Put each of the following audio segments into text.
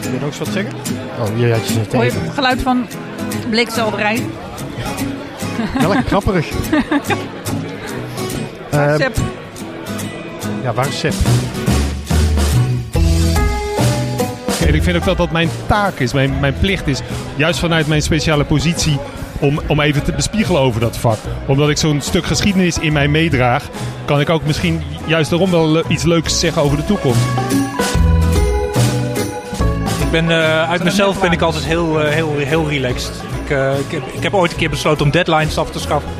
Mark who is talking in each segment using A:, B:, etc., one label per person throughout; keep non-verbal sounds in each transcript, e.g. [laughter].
A: Wil je nog eens wat zeggen?
B: Oh, hier had je ze
C: Hoor je
B: tegen.
C: het geluid van blikselderij?
B: Ja,
C: [laughs]
B: lekker knapperig. Eh,
C: Sep.
B: ja, waar is Sepp?
A: En ik vind ook dat dat mijn taak is, mijn, mijn plicht is. Juist vanuit mijn speciale positie om, om even te bespiegelen over dat vak. Omdat ik zo'n stuk geschiedenis in mij meedraag, kan ik ook misschien juist daarom wel le- iets leuks zeggen over de toekomst.
D: Ik ben, eh, uit mezelf ben ik altijd heel, eh, heel, heel relaxed. Ik, eh, ik, heb, ik heb ooit een keer besloten om deadlines af te schaffen.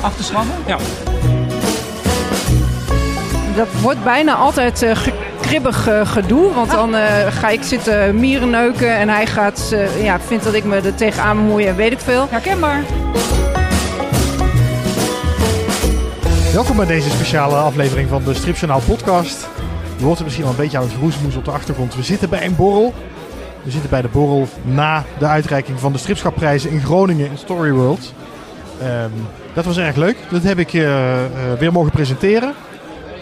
C: Af te schaffen.
D: Ja.
E: Dat wordt bijna altijd eh, ge- kribbig eh, gedoe. Want dan eh, ga ik zitten mieren neuken en hij gaat, eh, ja, vindt dat ik me er tegenaan bemoei en weet ik veel.
C: Herkenbaar.
B: Welkom bij deze speciale aflevering van de Stripjournaal podcast. Je hoort er misschien al een beetje aan het roesmoes op de achtergrond. We zitten bij een borrel. We zitten bij de borrel na de uitreiking van de stripschapprijzen in Groningen in Storyworld. Ehm, dat was erg leuk. Dat heb ik eh, eh, weer mogen presenteren.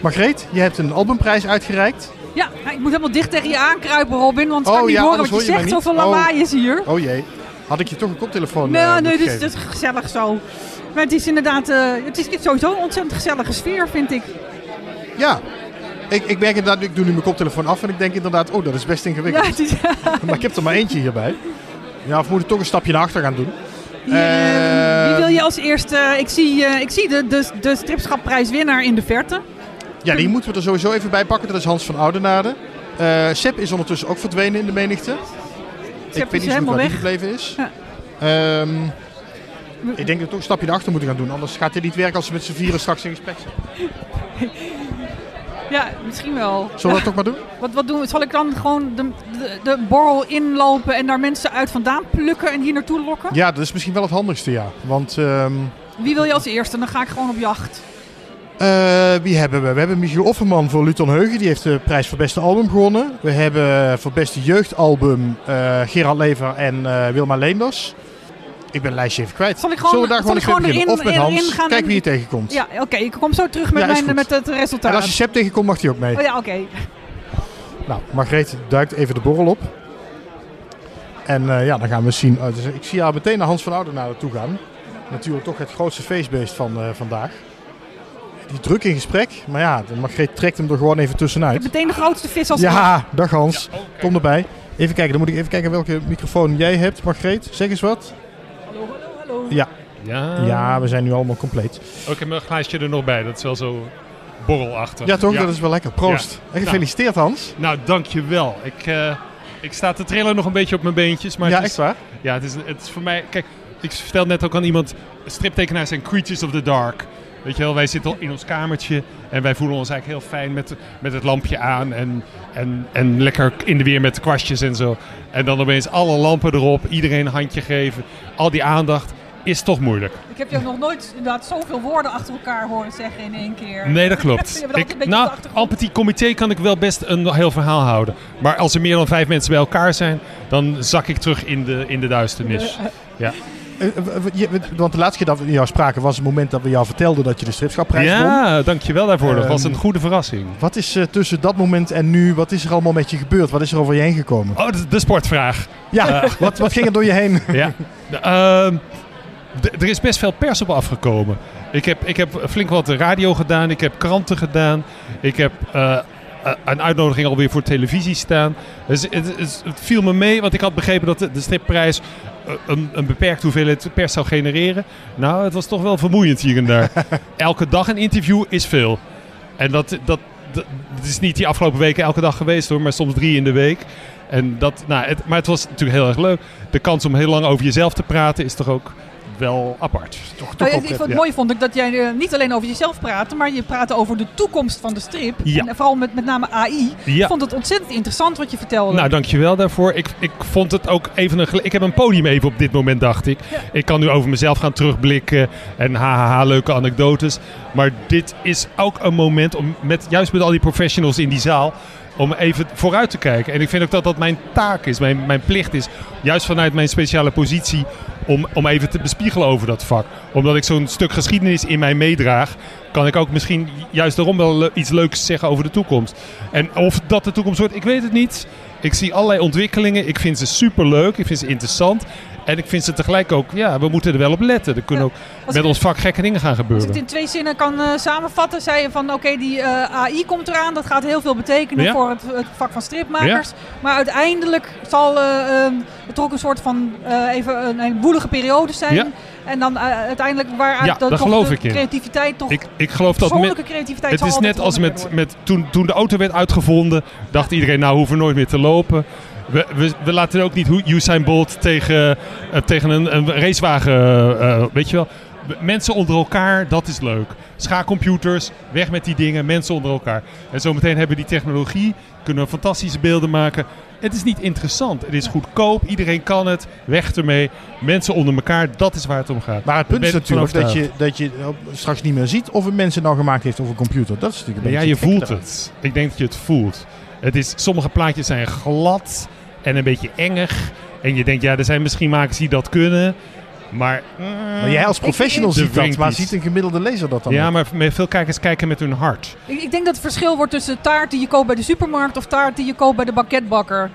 B: Margreet, je hebt een albumprijs uitgereikt.
C: Ja, ik moet helemaal dicht tegen je aankruipen, Robin. Want ik
B: Oh,
C: kan niet
B: ja,
C: horen
B: anders
C: wat je
B: hoor je mij
C: zegt.
B: niet.
C: Zoveel
B: Oh.
C: lawaai is hier.
B: Oh jee, had ik je toch een koptelefoon eh,
C: Nee, nee,
B: moeten
C: dit is,
B: geven?
C: dit is gezellig zo. Maar het is inderdaad, eh, het is sowieso een ontzettend gezellige sfeer, vind ik.
B: Ja, ik, ik merk inderdaad, ik doe nu mijn koptelefoon af en ik denk inderdaad, oh dat is best
C: Ja,
B: ingewikkeld.
C: het is,
B: [laughs] Maar ik heb er maar eentje hierbij. Ja, of moet ik toch een stapje naar achter gaan doen?
C: Eh,
B: Ehm,
C: wie wil je als eerste? Ik zie, eh, ik zie de, de, de stripschapprijswinnaar in de verte.
B: Ja, die moeten we er sowieso even bij pakken. Dat is Hans van Oudenade. Eh Sepp is ondertussen ook verdwenen in de menigte. ik weet
C: Sepp
B: niet
C: is
B: zo goed
C: dus helemaal
B: waar die
C: weg.
B: gebleven is.
C: Ja.
B: Ehm, ik denk dat we toch een stapje naar achter moeten gaan doen. Anders gaat dit niet werken als we met z'n vieren straks in gesprek zijn.
C: [laughs] Ja, misschien wel.
B: Zullen we dat toch maar doen?
C: [laughs] Wat, wat doen we? Zal ik dan gewoon de, de, de borrel inlopen en daar mensen uit vandaan plukken en hier naartoe lokken?
B: Ja, dat is misschien wel het handigste, ja. Want ehm,
C: Wie wil je als eerste? Dan ga ik gewoon op jacht.
B: eh, wie hebben we? We hebben Michiel Offerman voor Luton Heugen. Die heeft de prijs voor beste album gewonnen. We hebben voor beste jeugdalbum eh Gerard Lever en eh, Wilma Leenders. Ik ben het lijstje even kwijt.
C: Zal ik gewoon-
B: Zullen we daar
C: zal
B: gewoon
C: ik
B: even
C: gewoon
B: beginnen? Of met
C: erin-
B: Hans.
C: erin gaan
B: Kijk
C: en-
B: wie je tegenkomt.
C: Ja, oké. ik kom zo terug met,
B: Ja, is
C: mijn,
B: goed.
C: met het
B: En
C: resultaat.
B: als je Sepp tegenkomt, mag hij ook mee.
C: Oh ja, oké.
B: Nou, Margreet duikt even de borrel op. En eh, ja, dan gaan we zien. Oh, dus ik zie haar meteen naar Hans van Ouden naar toe gaan. Natuurlijk toch het grootste feestbeest van eh, vandaag. Die is druk in gesprek, maar ja, de Margreet trekt hem er gewoon even
C: Ik heb
B: tussenuit.
C: meteen de grootste vis als eerste.
B: Ja, dag Hans. Kom erbij. Even kijken, dan moet ik even kijken welke microfoon jij hebt, Margreet. Zeg eens wat.
C: Hallo, hallo, hallo.
A: Ja,
B: Ja, we zijn nu allemaal compleet.
A: ik heb mijn glaasje er nog bij. Dat is wel zo borrelachtig.
B: Ja, toch? Dat is wel lekker. Proost. En gefeliciteerd, Hans.
A: Nou, dankjewel. Ik, eh, ik sta te trillen nog een beetje op mijn beentjes. Maar
B: Ja,
A: het is-
B: echt waar.
A: Ja, het is, het is voor mij... Kijk, ik vertelde net ook aan iemand... Striptekenaars zijn creatures of the dark. Weet je wel, wij zitten al in ons kamertje... en wij voelen ons eigenlijk heel fijn met, met het lampje aan... En, en, en lekker in de weer met kwastjes en zo. En dan opeens alle lampen erop, iedereen een handje geven. Al die aandacht is toch moeilijk.
C: Ik heb jou nog nooit inderdaad zoveel woorden achter elkaar horen zeggen in één keer.
A: Nee, dat
C: [laughs] Je
A: klopt.
C: hebt altijd een
A: Ik,
C: beetje
A: nou,
C: op de achtergrond.
A: al petit comité kan ik wel best een heel verhaal houden. Maar als er meer dan vijf mensen bij elkaar zijn... dan zak ik terug in de, in de
C: Eh,
A: duisternis.
B: Eh, eh, je- Want de laatste keer dat we jou spraken was het moment dat we jou vertelden dat je de stripschapprijs won.
A: Ja, dankjewel daarvoor. Dat
B: Ehm,
A: was een goede verrassing.
B: Wat is eh, tussen dat moment en nu, wat is er allemaal met je gebeurd? Wat is er over je heen gekomen?
A: Oh, de, de sportvraag. Eh.
B: Ja, wat, wat ging er door je
A: [laughs]
B: heen? [laughs]
A: ja. De, ehm, d- er is best veel pers op afgekomen. Ik heb, ik heb flink wat radio gedaan. Ik heb kranten gedaan. Ik heb eh, eh, een uitnodiging alweer voor televisie staan. Dus het, het- het viel me mee, want ik had begrepen dat de, de stripprijs eh, een, een beperkte hoeveelheid pers zou genereren. Nou, het was toch wel vermoeiend hier en daar. Elke dag een interview is veel. En dat, dat, dat, dat is niet die afgelopen weken elke dag geweest hoor, maar soms drie in de week. En dat, nou, het, maar het was natuurlijk heel erg leuk. De kans om heel lang over jezelf te praten is toch ook wel apart.
B: Toch,
C: Nou,
B: toch ook,
C: ik- ik- het
B: eh,
C: mooie vond ik dat jij eh, niet alleen over jezelf praatte, maar je praatte over de toekomst van de strip.
A: Ja.
C: En eh, vooral met, met name AI.
A: Ja.
C: Ik vond het ontzettend interessant wat je vertelde.
A: Nou, dankjewel daarvoor. Ik, ik vond het ook even een... gele- Ik heb een podium even op dit moment, dacht ik. Ik kan nu over mezelf gaan terugblikken en hahaha, leuke anekdotes. Maar dit is ook een moment om, met, juist met al die professionals in die zaal, om even vooruit te kijken. En ik vind ook dat dat mijn taak is, mijn, mijn plicht is. Juist vanuit mijn speciale positie om, om even te bespiegelen over dat vak. Omdat ik zo'n stuk geschiedenis in mij meedraag, kan ik ook misschien juist daarom wel le- iets leuks zeggen over de toekomst. En of dat de toekomst wordt, ik weet het niet. Ik zie allerlei ontwikkelingen. Ik vind ze superleuk. Ik vind ze interessant. En ik vind ze tegelijk ook, ja, we moeten er wel op letten. Er kunnen
C: Ja,
A: ook
C: als
A: met
C: ik-
A: ons vak gekke dingen gaan
C: Als ik het
A: gebeuren.
C: in twee zinnen kan eh, samenvatten, zei je van oké, die eh, AI komt eraan. Dat gaat heel veel betekenen
A: Ja.
C: voor het, het vak van stripmakers. Maar uiteindelijk zal eh, ehm, het ook een soort van eh, even een, een woelige periode zijn.
A: Ja.
C: En dan eh, uiteindelijk waaruit
A: Ja,
C: dan
A: daar
C: toch
A: geloof
C: de
A: ik in.
C: creativiteit toch...
A: Ik, ik geloof dat men-
C: persoonlijke creativiteit
A: Het
C: zal
A: is
C: altijd
A: net als
C: belangrijk
A: met,
C: worden.
A: met toen, toen de auto werd uitgevonden, dacht iedereen, nou hoeven we nooit meer te lopen. We, we, we laten ook niet hoe- Usain Bolt tegen, eh, tegen een, een racewagen, eh, eh, weet je wel. We- Mensen onder elkaar, dat is leuk. Schaakcomputers, weg met die dingen, mensen onder elkaar. En zometeen hebben we die technologie, kunnen we fantastische beelden maken. Het is niet interessant, het is goedkoop, iedereen kan het, weg ermee. Mensen onder elkaar, dat is waar het om gaat.
B: Maar het punt
A: Daar
B: is
A: ben ik van
B: natuurlijk dat je,
A: overtuigd.
B: dat je eh, straks niet meer ziet of een mens het nou gemaakt heeft of een computer. Dat is natuurlijk een
A: Ja,
B: beetje
A: je
B: het gekke
A: voelt het. Ik denk dat je het voelt. Het is, sommige plaatjes zijn glad en een beetje engig. En je denkt, ja, er zijn misschien makers die dat kunnen. Maar, mm,
B: eraan. Maar jij als professional
A: ik-
B: ziet
A: Er
B: dat,
A: wringt
B: maar
A: iets.
B: ziet een gemiddelde lezer dat dan
A: ja,
B: ook?
A: maar met veel kijkers kijken met hun hart.
C: Ik, ik denk dat het verschil wordt tussen taart die je koopt bij de supermarkt of taart die je koopt bij de
B: [laughs]
C: banketbakker.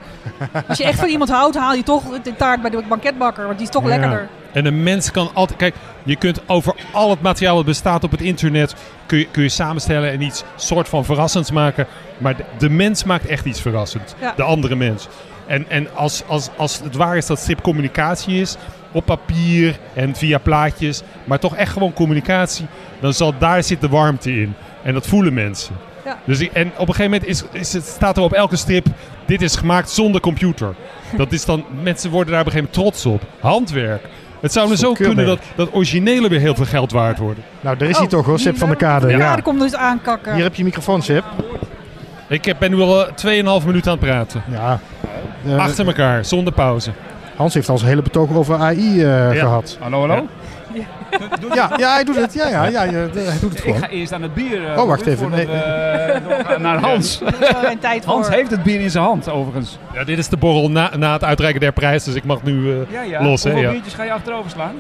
C: Als je echt van iemand houdt, haal je toch de taart bij de banketbakker, want die is toch
A: Ja.
C: lekkerder.
A: En een mens kan altijd... Kijk, je kunt over al het materiaal dat bestaat op het internet... kun je, kun je samenstellen en iets soort van verrassends maken. Maar de, de mens maakt echt iets verrassends.
C: Ja.
A: De andere mens. En, en als, als, als het waar is dat strip communicatie is... op papier en via plaatjes... maar toch echt gewoon communicatie... dan zal daar zit de warmte in. En dat voelen mensen.
C: Ja.
A: Dus ik- en op een gegeven moment is, is het, staat er op elke strip... dit is gemaakt zonder computer. Dat is dan, mensen worden daar op een gegeven moment trots op. Handwerk. Het zou dus
B: Zo'n
A: ook kunnen dat,
B: keurmerk.
A: dat originele weer heel veel geld waard worden.
B: Nou, daar is hij
C: Oh,
B: toch hoor, Seb van der Kade.
C: Ja,
B: Ja.
C: daar komt dus aankakken.
B: Hier heb je microfoon, Seb.
A: Ik heb- ben nu al eh, 2,5 minuten aan het praten.
B: Ja. Eh,
A: Achter elkaar, zonder pauze.
B: Hans heeft al zijn hele betoog over AI eh, gehad.
F: Hallo, hallo.
B: [laughs] Ja, ja, hij doet het. Ja, ja, ja, ja, hij doet het
F: Ik
B: gewoon.
F: ga eerst aan het bier. eh,
B: Oh, wacht
F: doen
B: even, nee.
F: voordat we eh, doorgaan naar
B: [laughs]
F: Hans.
C: Daar is wel geen tijd voor.
F: Hans heeft het bier in zijn hand, overigens.
A: Ja, dit is de borrel na, na het uitreiken der prijs, dus ik mag nu eh,
F: Ja, ja.
A: los. Hè,
F: Hoeveel
A: ja.
F: biertjes ga je achterover slaan?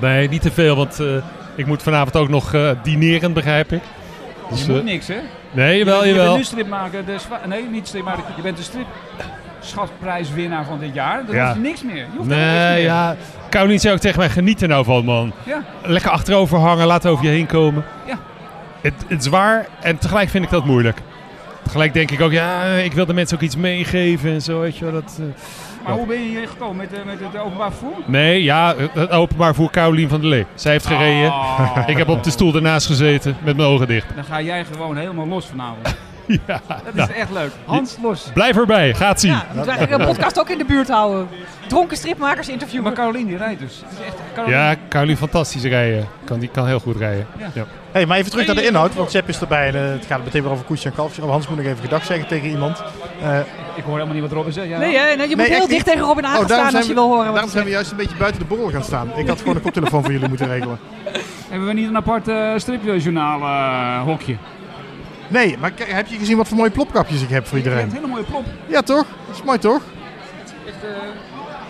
A: Nee, niet te veel, want eh, ik moet vanavond ook nog eh, dineren, begrijp ik. Dus,
F: je moet
A: eh,
F: niks, hè?
A: nee, jawel,
F: je bent- Je bent
A: jawel.
F: nu stripmaker. De zwa- nee, niet stripmaker. Je bent de stripschatprijswinnaar van dit jaar. Dan
A: Ja.
F: hoeft niks meer. Je hoeft helemaal niks
A: Nee,
F: meer.
A: ja. Caroline zei ook tegen mij, geniet er nou van, man.
F: Ja.
A: Lekker achterover hangen, laat over je heen komen.
F: Ja.
A: Het, het is waar en tegelijk vind ik dat moeilijk. Tegelijk denk ik ook, ja, ik wil de mensen ook iets meegeven en zo, weet je wel. Dat, eh.
F: Maar hoe ben je hier gekomen met, eh, met het openbaar vervoer?
A: Nee, ja, het openbaar voor Caroline van der Lee. Zij heeft gereden.
F: Oh.
A: Ik heb op de stoel daarnaast gezeten met mijn ogen dicht.
F: Dan ga jij gewoon helemaal los
A: [laughs]
F: vanavond.
A: Ja,
F: Dat is
A: nou,
F: echt leuk. Hans, los.
A: blijf erbij, gaat zien.
C: Ja, moet eigenlijk een podcast ook in de buurt houden. Dronken stripmakers interviewen.
F: Maar Caroline die rijdt dus. Het is echt, Caroline-
A: Ja, Caroline fantastisch rijden. Kan, die kan heel goed rijden.
B: Hey, maar even terug naar de inhoud, want Seb is erbij. En, eh, het gaat meteen weer over koetsje en kalfje. Oh, Hans moet nog even gedag zeggen tegen iemand. Eh,
F: Ik hoor helemaal niet wat Robin zegt. Ja,
C: Nee, hè? nee, je
B: Nee,
C: moet heel
B: echt
C: dicht
B: niet.
C: tegen Robin Hagen
B: Oh, daarom
C: staan
B: zijn
C: als
B: we-
C: je wil horen. wat
B: daarom
C: hij
B: zijn we
C: zegt.
B: juist een beetje buiten de borrel gaan staan. Ik had gewoon een koptelefoon voor jullie moeten regelen. [laughs]
F: Hebben we niet een apart eh, stripjournaal eh, hokje?
B: Nee, maar kijk, heb je gezien wat voor mooie plopkapjes ik heb voor
F: Je hebt
B: iedereen?
F: een hele mooie plop.
B: Ja, toch? Dat is mooi, toch?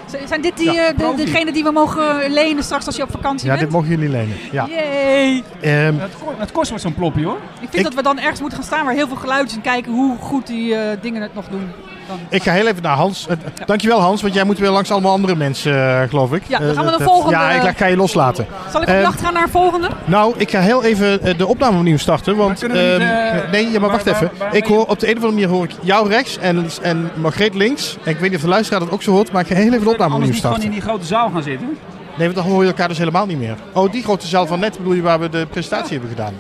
C: Z- Zijn dit die,
B: Ja,
C: eh, de-
B: profi.
C: degene die we mogen eh, lenen straks als je op vakantie
B: Ja, dit
C: bent?
B: mogen jullie lenen. Ja.
C: Yay.
B: Ehm,
F: Het, ko- het kost wat zo'n plopje hoor.
C: Ik vind
B: Ik-
C: dat we dan ergens moeten gaan staan waar heel veel geluid is en kijken hoe goed die eh, dingen het nog doen. Dan.
B: ik ga heel even naar Hans. Eh, dankjewel Hans, want jij moet weer langs allemaal andere mensen, eh, geloof ik.
C: Ja, dan
B: Eh,
C: gaan we
B: dat-
C: de
B: dat-
C: volgende-
B: Ja, ik la- ga je loslaten.
C: Zal ik op
B: Ehm,
C: jacht gaan naar een volgende?
B: Nou, ik ga heel even eh, de opname opnieuw starten. Want,
F: Maar kunnen we niet,
B: ehm,
F: eh,
B: nee, ja, maar
F: waar-
B: wacht
F: waar-
B: even.
F: waar-
B: ik hoor, op de een of andere manier hoor ik jou rechts en, en Margreet links. En ik weet niet of de luisteraar dat ook zo hoort, maar ik ga heel even de opname
F: Anders
B: opnieuw
F: niet gewoon in
B: starten.
F: die grote zaal gaan zitten.
B: Nee, want dan hoor je elkaar dus helemaal niet meer. Oh, die grote zaal van net bedoel je waar we de presentatie hebben gedaan.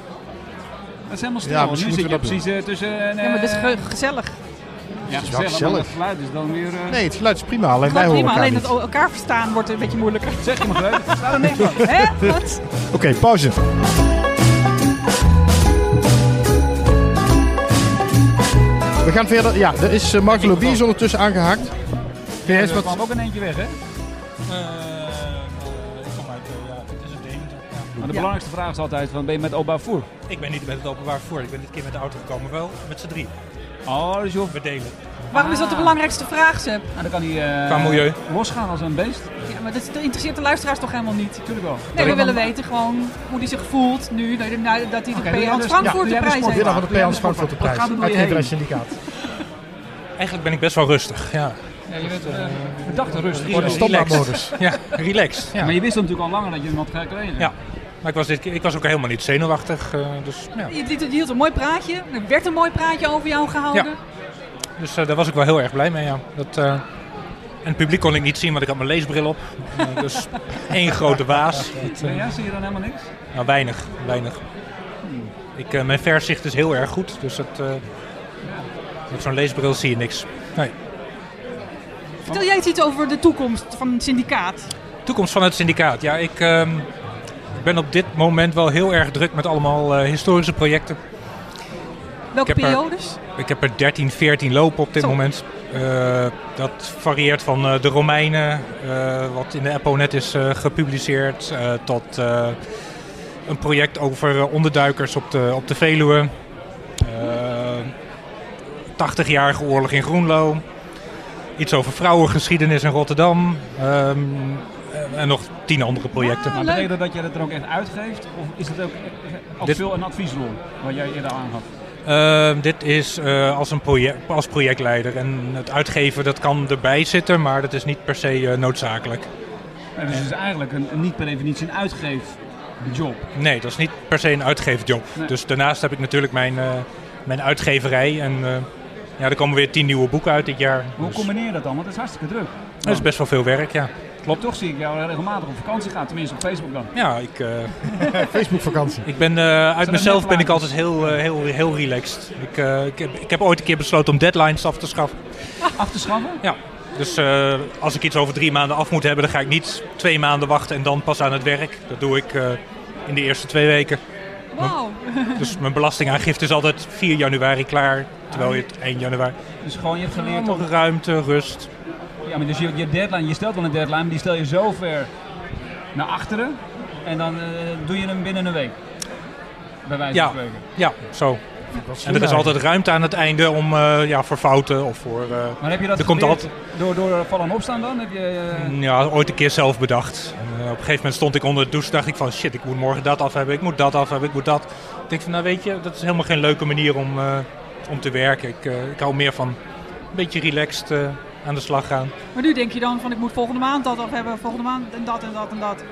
F: Dat is helemaal stil.
B: Ja,
F: nu
B: misschien
F: zit je
B: moeten we dat
F: precies eh, tussen... eh,
C: Ja, maar dit is ge- gezellig.
B: wel
F: ja, gezellig. maar
B: gezellig.
F: Het geluid is dan weer... eh,
B: Nee, het geluid is prima, alleen wij
C: Gewoon
B: horen
C: prima,
B: elkaar
C: alleen
B: niet.
C: dat
B: Oké,
C: o- elkaar verstaan wordt een beetje moeilijker.
F: Zeg je maar leuk.
C: [laughs]
F: Er staat er niks van.
C: Hè? Wat?
B: pauze. We gaan verder. Ja, er is eh, Mark Lobby is ondertussen aangehaakt. Kun jij eens
F: Er
B: wat...
F: kwam ook in eentje weg hè. Maar de belangrijkste vraag is altijd, van, ben je met openbaar voer?
G: Ik ben niet met het openbaar vervoer. Ik ben dit keer met de auto gekomen. Wel met z'n drie.
F: Oh, dus je hoeft-
G: We delen.
C: Waarom is dat de belangrijkste vraag, Seb?
F: Nou, dan kan hij eh,
D: Qua milieu.
F: losgaan als een beest. Nou,
C: Ja, maar dat is- dat interesseert de luisteraars toch helemaal niet?
F: Tuurlijk wel.
C: Nee, we
F: Doe
C: willen weten gewoon hoe hij zich voelt nu dat, nou, dat hij de
F: Oké,
C: PA
F: doe jij
C: aan
F: dus-
C: Frankfurt
F: ja, doe
C: de
F: jij
C: prijs
F: de
C: heeft.
F: sport-
B: Winnaar van de P.A.'s Frankfurt de prijs.
F: Wat gaat er door
B: Uit
F: je
B: het
F: heen?
B: syndicaat.
D: Eigenlijk ben ik best wel rustig. Ja.
F: Ja, je bent eh, verdachte rustig.
D: Voor de
F: Relaxed. [laughs]
B: Standaardmodus.
D: Ja, relaxed. Ja.
F: Maar je wist natuurlijk al langer dat je hem had gekregen.
D: Ja. Maar ik was, dit, keer- ik was ook helemaal niet zenuwachtig. eh, dus ja.
C: Je liet- je hield een mooi praatje. Er werd een mooi praatje over jou gehouden.
D: dus eh, daar was ik wel heel erg blij mee. Ja. Dat, eh, en het publiek kon ik niet zien, want ik had mijn leesbril op. Eh,
F: [laughs]
D: dus één grote waas. Dat, eh,
F: Nee, ja, zie je dan helemaal niks?
D: nou, weinig. weinig. Ik, eh, mijn verzicht is heel erg goed. Dus dat, eh, met zo'n leesbril zie je niks. Nee.
C: Vertel jij eens iets over de toekomst van het syndicaat.
D: Toekomst van het syndicaat. Ja, ik ehm, ik ben op dit moment wel heel erg druk met allemaal eh, historische projecten.
C: Welke
D: Ik heb er-
C: periodes?
D: Ik heb er 13, 14 lopen op dit
C: Zo.
D: moment. Eh, dat varieert van eh, de Romeinen, eh, wat in de Apple net is eh, gepubliceerd, eh, tot eh, een project over eh, onderduikers op de, op de Veluwe. Eh 80-jarige oorlog in Groenlo. Iets over vrouwengeschiedenis in Rotterdam. Ehm, en- en nog tien andere projecten.
C: Ah,
F: Maar
C: leuk.
F: betekent dat dat jij dat er ook echt uitgeeft? Of is het ook eh, als
D: Dit-
F: veel een adviesrol, wat jij eerder aangaf?
D: Ehm, dit is eh, als, een project, als projectleider. En het uitgeven dat kan erbij zitten, maar dat is niet per se eh, noodzakelijk.
F: Nee, dus het is eigenlijk een, een niet per definitie een uitgeefjob.
D: Nee, dat is niet per se een uitgeefjob.
F: Nee.
D: Dus daarnaast heb ik natuurlijk mijn, eh, mijn uitgeverij. En eh, ja, er komen weer tien nieuwe boeken uit dit jaar.
F: Hoe
D: Dus
F: combineer je dat dan? Want het is hartstikke druk.
D: dat is best wel veel werk, ja.
F: Klopt. Toch zie ik jou regelmatig op vakantie gaan, tenminste op Facebook dan.
D: Ja, ik, eh,
B: Facebook vakantie.
D: ik ben, eh, uit
F: dat
D: mezelf
F: net
D: ben ik
F: laten?
D: altijd heel, eh, heel, heel relaxed. Ik, eh, ik, heb, ik heb ooit een keer besloten om deadlines af te schaffen.
F: [laughs] Af te schaffen?
D: Dus eh, als ik iets over drie maanden af moet hebben, dan ga ik niet twee maanden wachten en dan pas aan het werk. Dat doe ik eh, in de eerste twee weken.
C: Wauw.
D: Dus mijn belastingaangifte is altijd 4 januari klaar, terwijl je het 1 januari...
F: Dus gewoon je hebt geleerd om...
D: Allemaal ruimte, rust.
F: Ja, maar dus je, je deadline, je stelt wel een deadline, maar die stel je zo ver naar achteren. En dan eh, doe je hem binnen een week. Bij wijze
D: Ja.
F: van spreken.
D: Ja, zo.
B: Wat
D: En
B: slim
D: er is
B: eigenlijk.
D: altijd ruimte aan het einde om, eh, ja, voor fouten of voor... eh,
F: Maar heb je dat
D: Er komt
F: geleerd door, door vallen en opstaan dan? Heb je, eh,
D: Mm, ja, ooit een keer zelf bedacht. En, eh, op een gegeven moment stond ik onder de douche dacht ik van... Shit, ik moet morgen dat af hebben, ik moet dat af hebben, ik moet dat. Ik denk van, nou weet je, dat is helemaal geen leuke manier om, eh, om te werken. Ik, eh, ik hou meer van een beetje relaxed eh, aan de slag gaan.
C: Maar nu denk je dan van ik moet volgende maand dat af hebben, volgende maand en dat en dat en dat.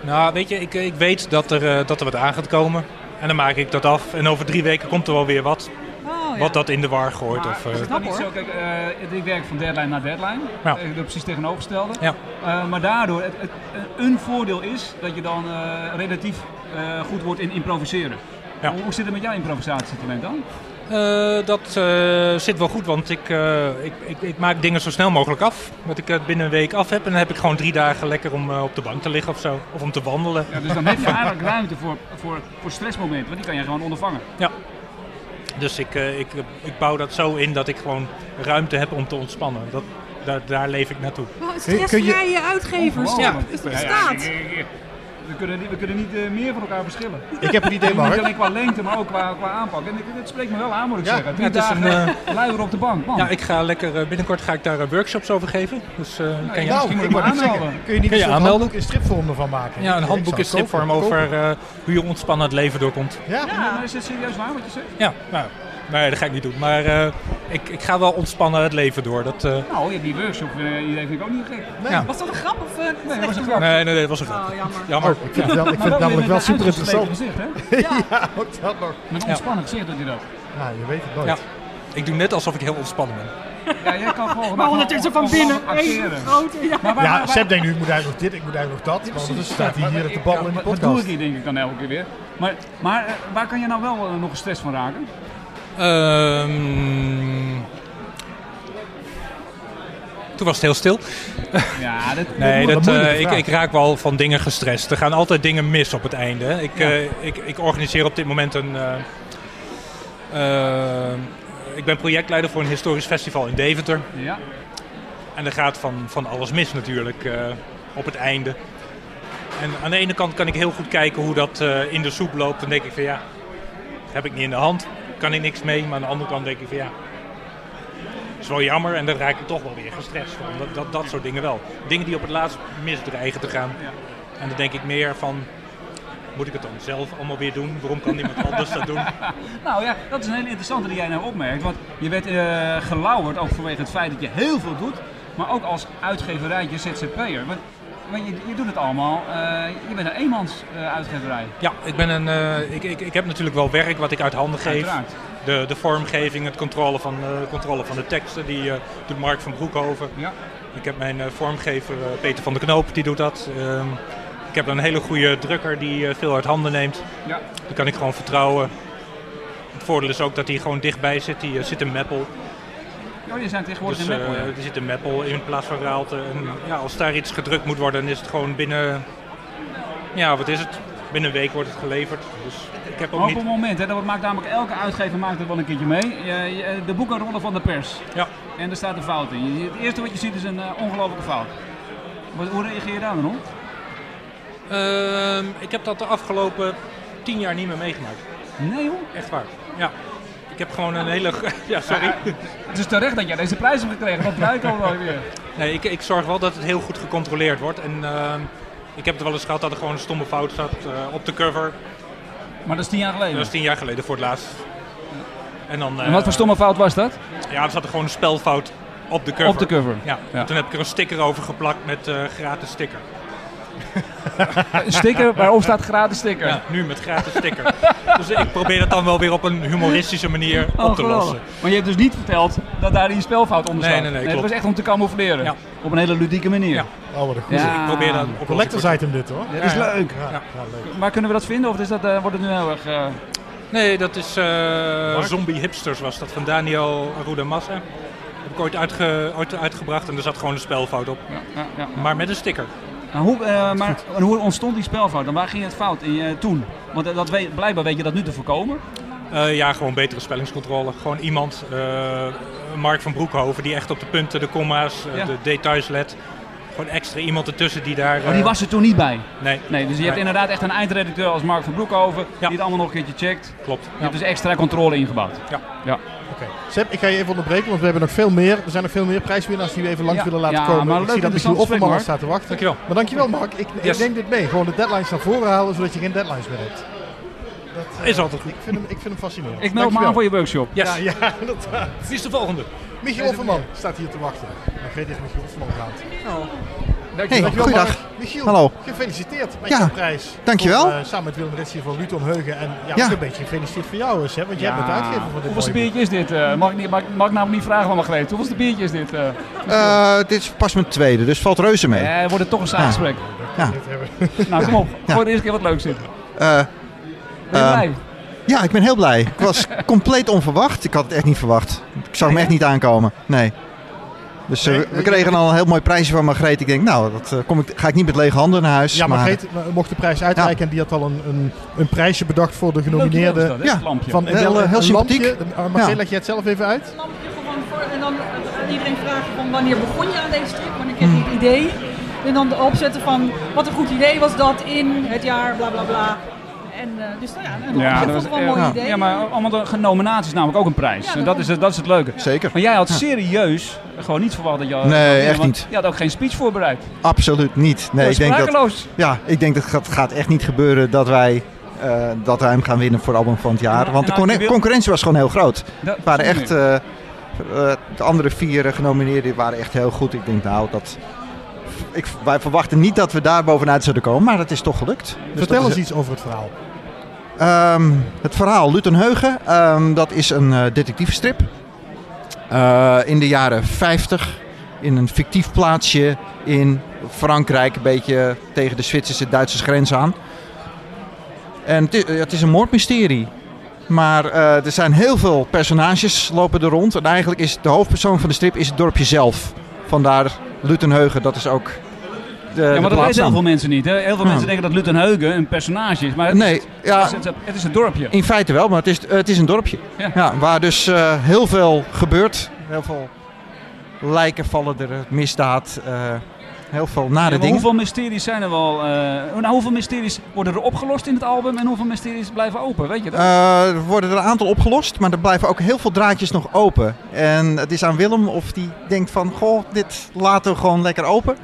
D: Nou, weet je, ik, ik weet dat er, eh, dat er wat aan gaat komen. En dan maak ik dat af. En over drie weken komt er wel weer wat.
C: Oh, ja.
D: Wat dat in de war gooit. Of, eh,
F: Maar is het dan
C: Knap,
F: niet zo, kijk, eh, ik werk van deadline naar deadline.
D: Ja.
F: Eh, precies tegenovergestelde.
D: Ja.
F: Eh, maar daardoor, het, het, een voordeel is dat je dan eh, relatief eh, goed wordt in improviseren.
D: Ja.
F: Hoe, hoe zit het met jouw improvisatietalent dan?
D: eh, dat eh, zit wel goed, want ik, eh, ik, ik, ik maak dingen zo snel mogelijk af. Dat ik het binnen een week af heb. En dan heb ik gewoon drie dagen lekker om eh, op de bank te liggen of zo. Of om te wandelen.
F: Ja, dus
D: [laughs]
F: dan heb je eigenlijk ruimte voor, voor, voor stressmomenten, want die kan je gewoon ondervangen.
D: Dus ik, eh, ik, ik bouw dat zo in dat ik gewoon ruimte heb om te ontspannen. Dat, daar, daar leef ik naartoe.
C: Wauw,
B: Kun Oh,
C: stressvrije uitgevers.
F: Ja.
C: Het
F: ik-
C: bestaat.
F: ik- ik- we kunnen niet, we kunnen niet eh, meer van elkaar verschillen.
B: Ik heb een
F: [laughs]
B: idee,
F: Niet
B: Mark.
F: alleen qua lengte, maar ook qua, qua aanpak. En dit- dit spreekt me wel aan, moet ik
B: Ja,
F: zeggen.
D: ja,
F: Drie
D: het is
F: dagen
D: een, eh,
F: [laughs] luier op de bank, man.
D: Ja, ik ga lekker, eh, binnenkort ga ik daar eh, workshops over geven. Dus eh, kan jij
F: nou,
D: misschien...
F: moet
B: ik
F: ik
B: wou
F: me
B: net zeggen,
F: aanmelden.
B: kun je niet
D: Kun je
B: een soort
D: aanmelden?
B: handboek in stripvorm ervan maken?
D: Ja, een
B: Ik-
D: handboek
B: ik
D: in
B: zou het kopen.
D: stripvorm over eh, hoe je ontspannen het leven doorkomt.
B: Ja,
F: Ja, maar is dit serieus waar wat je zegt?
D: Ja, nou, nee, dat ga ik niet doen. Maar eh, ik, ik ga wel ontspannen het leven door. Dat, eh,
F: Nou, je hebt die workshop, eh, idee vind ik ook niet gek.
B: nee.
D: Ja.
C: Was dat een grap of eh,
F: Nee, dat was een
C: echt?
F: grap.
D: nee, nee, nee, dat was een grap.
C: Oh, jammer.
B: Oh,
D: Jammer.
B: ik vind het, wel, ik vind het namelijk wel super interessant.
F: Gezicht, hè? [laughs] Met
B: [laughs] Ja, ook dat nog.
F: een ontspannen gezicht doet hij dat.
B: Nou, je weet het nooit.
D: Ja. Ik doe net alsof ik heel ontspannen ben.
F: Ja, jij kan gewoon...
C: Maar ondertussen van binnen. één
F: Acteren.
C: groot, ja.
F: Maar waar-
B: Ja,
F: waar-
B: Seb denkt nu, ik moet eigenlijk nog dit, ik moet eigenlijk nog dat. Want anders staat hij hier
F: waar-
B: te babbelen in die
F: wat- Wat doe
B: podcast.
F: ik hier denk ik dan elke keer weer? Maar, maar eh, waar kan je nou wel eh, nog een stress van raken?
D: Ehm, toen was het heel stil. [laughs]
F: Ja, dat...
D: Nee,
B: Dat
D: dat,
B: is een moeilijke
D: eh, ik,
B: vraag.
D: ik raak wel van dingen gestrest. Er gaan altijd dingen mis op het einde. hè. Ik, eh, ik, ik organiseer op dit moment een. eh, eh, ik ben projectleider voor een historisch festival in Deventer.
F: Ja,
D: En er gaat van, van alles mis natuurlijk eh, op het einde. En aan de ene kant kan ik heel goed kijken hoe dat eh, in de soep loopt. Dan denk ik van ja, heb ik niet in de hand, kan ik niks mee. Maar aan de andere kant denk ik van ja, is wel jammer en daar raak ik toch wel weer gestrest van. Dat, dat, dat soort dingen wel. Dingen die op het laatst misdreigen te gaan. En dan denk ik meer van, moet ik het dan zelf allemaal weer doen? Waarom kan niemand anders dat doen?
F: [laughs] Nou ja, dat is een hele interessante die jij nou opmerkt. Want je werd eh gelauwerd ook vanwege het feit dat je heel veel doet. Maar ook als uitgeverijtje ZZP'er. Want, want je, je doet het allemaal. eh, je bent een eenmans eh, uitgeverij.
D: Ja, ik, ben een, eh, ik, ik, ik heb natuurlijk wel werk wat ik uit handen geef.
F: Uiteraard.
D: De, de vormgeving, het controle van, eh, controle van de teksten, die eh, doet Mark van Broekhoven.
F: Ja.
D: Ik heb mijn eh, vormgever eh, Peter van der Knoop, die doet dat. Ehm, ik heb een hele goede drukker die eh, veel uit handen neemt.
F: Ja.
D: Die kan ik gewoon vertrouwen. Het voordeel is ook dat hij gewoon dichtbij zit. Die eh, zit in Meppel.
F: Oh, je zijn tegenwoordig
D: Dus,
F: in Meppel.
D: eh,
F: ja.
D: die zit in Meppel in plaats van Raalte. En, ja, als daar iets gedrukt moet worden, dan is het gewoon binnen... Ja, wat is het? Binnen een week wordt het geleverd. Dus ik heb ook
F: Maar op
D: niet...
F: een moment, hè, dat maakt namelijk elke uitgever maakt er wel een keertje mee. Je- je- de boeken rollen van de pers.
D: Ja.
F: En daar staat een fout in. Je- Het eerste wat je ziet is een eh, ongelofelijke fout. Wat, hoe reageer je daar dan op?
D: Ehm, ik heb dat de afgelopen tien jaar niet meer meegemaakt.
F: Nee hoor.
D: Echt waar. Ja. Ik heb gewoon een hele... [laughs] Ja, sorry.
F: Het is terecht dat jij deze prijs hebt gekregen. Dat blijkt al wel weer.
D: Nee, ik, ik zorg wel dat het heel goed gecontroleerd wordt. En ehm, ik heb het wel eens gehad dat er gewoon een stomme fout zat eh, op de cover.
F: Maar dat is tien jaar geleden.
D: Dat was tien jaar geleden voor het laatst. En, dan, eh,
F: En wat voor stomme fout was dat?
D: Ja, er zat er gewoon een spelfout op de cover.
F: Op de cover.
D: Ja,
F: Ja.
D: toen heb ik er een sticker over geplakt met eh, gratis sticker.
F: Een
D: [laughs]
F: sticker waarop staat gratis sticker.
D: Ja, nu met gratis sticker. dus ik probeer dat dan wel weer op een humoristische manier
F: Oh,
D: op te
F: geweldig.
D: lossen.
F: Maar je hebt dus niet verteld dat daar die spelfout onder
D: Nee,
F: staat.
D: nee, nee,
F: Het
D: klopt.
F: was echt om te camoufleren.
D: Ja.
F: Op een hele ludieke manier.
D: Ja.
B: Oh, wat een goed.
F: Ja.
D: Dus ik probeer dat op
B: Collectors item dit hoor.
F: Dat is
D: Ja, ja.
F: leuk.
B: Ja, ja, leuk.
F: Waar kunnen we dat vinden? Of is dat, eh, wordt het nu heel erg... eh,
D: Nee, dat is eh, Zombie Hipsters was dat van Daniel Arruda Massa. Heb ik ooit, uitge- ooit uitgebracht en er zat gewoon een spelfout op.
F: ja, ja, ja.
D: Maar met een sticker.
F: Maar hoe, eh, maar, en hoe ontstond die spelfout? En waar ging het fout in, eh, toen? Want eh, dat weet, blijkbaar weet je dat nu te voorkomen.
D: Eh, ja, gewoon betere spellingscontrole. Gewoon iemand, eh, Mark van Broekhoven, die echt op de punten, de comma's, eh,
F: Ja.
D: de details let. Gewoon extra iemand ertussen die daar...
F: Maar Oh, die
D: eh,
F: was er toen niet bij.
D: Nee,
F: Nee, dus je hebt
D: Nee.
F: inderdaad echt een eindredacteur als Mark van Broekhoven. Die
D: Ja.
F: het allemaal nog een keertje checkt.
D: klopt.
F: Je hebt dus extra controle ingebouwd.
B: Oké. Seb, ik ga je even onderbreken, want we hebben nog veel meer. Er zijn nog veel meer prijswinnaars die we even langs
F: Ja,
B: willen laten
F: ja,
B: komen.
F: maar
B: ik
F: leuk,
B: zie dat Michiel
F: interessant
B: Offerman al
F: gesprek,
B: staat te wachten.
D: Dankjewel.
B: Maar dankjewel Mark, ik, ik
D: Yes.
B: neem dit mee. Gewoon de deadlines naar voren halen, zodat je geen deadlines meer hebt. eh,
D: Is altijd goed.
B: Ik vind hem, ik vind hem fascinerend.
F: Ik meld me aan voor je workshop.
D: Yes.
B: Ja, ja, [laughs] inderdaad.
D: Wie is de volgende?
B: Michiel Offerman staat hier te wachten. Ik weet niet of Michiel Offerman gaat.
G: Hey,
B: Dankjewel,
G: goeiedag.
B: Mark. Michiel,
G: Hallo.
B: gefeliciteerd met
G: Ja,
B: je prijs.
G: dankjewel.
B: Voor, eh, samen met Willem Ritsi van Luton Heugen. En ja,
G: Ja.
B: ook een beetje gefeliciteerd voor jou, Seb, want jij bent de uitgever van dit
F: Hoeveelste
B: mooie boek.
F: biertje is dit? eh? mag, ik niet, mag, ik- mag ik namelijk niet vragen van Margreet. Hoeveelste biertje is dit? eh?
G: Eh, dit is pas mijn tweede, dus valt reuze mee.
F: Eh, wordt het toch een saamgesprek.
G: Ja.
B: Dit hebben.
F: Nou, kom op.
G: Ja.
F: Voor de eerste keer wat leuks zit.
G: Eh,
F: Ben je
G: Ehm,
F: blij?
G: ja, ik ben heel blij. Ik
C: [laughs]
G: was compleet onverwacht. Ik had het echt niet verwacht. Ik zag hem echt niet aankomen. Nee. Dus eh,
B: Nee,
G: we kregen al een heel mooi prijsje van Margreet. Ik denk, nou, dat eh, kom ik, ga ik niet met lege handen naar huis.
B: Ja, maar Geet mocht de prijs uitreiken en die had al een, een, een prijsje bedacht voor de genomineerden.
F: Leuk idee is dat, hè,
G: ja,
F: het lampje.
B: Van
G: Heel,
B: wel
G: eh, heel
B: een
G: sympathiek.
B: lampje. Eh, Marcel,
G: Ja. Dus
B: leg jij het zelf even uit?
C: Een lampje gewoon voor- en dan aan iedereen vragen van wanneer begon je aan deze strip, wanneer kreeg je het idee. En dan opzetten van wat een goed idee was dat in het jaar, bla bla bla. En eh, dus nou ja, een
F: Ja,
C: lampje
F: dat
C: vond
F: was
C: ik wel een
F: echt-
C: mooi
G: ja.
C: idee.
F: Ja, maar allemaal de genomineerd is namelijk ook een prijs.
C: Ja,
F: en dat
C: daarom.
F: is, het- dat is het leuke.
G: Zeker.
F: Maar jij had serieus gewoon niet verwacht dat je... al-
G: Nee,
F: want
G: echt niet. Eh,
F: Je had ook geen speech voorbereid.
G: Absoluut niet. Nee, ik denk dat,
F: sprakeloos.
G: ja, ik denk dat het gaat echt niet gebeuren dat wij, eh, dat wij hem gaan winnen voor album van het jaar. Want de
F: En- en als je
G: conne-
F: nou, wil-
G: concurrentie was gewoon heel groot.
F: Dat-
G: Het waren echt, eh, eh, de andere vier eh, genomineerden waren echt heel goed. Ik denk nou, dat, ik, wij verwachten niet dat we daar bovenuit zullen komen, maar dat is toch gelukt. Dus
B: Vertel
G: dat
B: eens
G: is-
B: iets over het verhaal.
G: Ehm, het verhaal Luton Heugen, ehm, dat is een eh detectivestrip. Eh, in de jaren 50 in een fictief plaatsje in Frankrijk, een beetje tegen de Zwitserse Duitse grens aan. En het i- het is, een moordmysterie. Maar eh, er zijn heel veel personages lopen er rond. En eigenlijk is de hoofdpersoon van de strip is het dorpje zelf. Vandaar Lutenheugen, dat is ook de,
F: Ja,
G: de
F: maar dat weten heel
G: plaatsnaam.
F: veel mensen niet. Hè. Heel veel
G: Ja.
F: mensen denken dat Lutten Heugen een personage is. Maar het,
G: Nee,
F: is,
G: ja,
F: het, is, het is een dorpje.
G: in feite wel, maar het is, het is een dorpje.
F: Ja.
G: Ja. waar dus eh, heel veel gebeurt. Heel veel lijken vallen er, misdaad. eh, Heel veel nare
F: Ja, maar
G: dingen.
F: hoeveel mysteries zijn er wel? eh, nou, hoeveel mysteries worden er opgelost in het album en hoeveel mysteries blijven open? Weet je dat?
G: Eh, er worden er een aantal opgelost, maar er blijven ook heel veel draadjes nog open. En het is aan Willem of die denkt van, goh, dit laten we gewoon lekker open.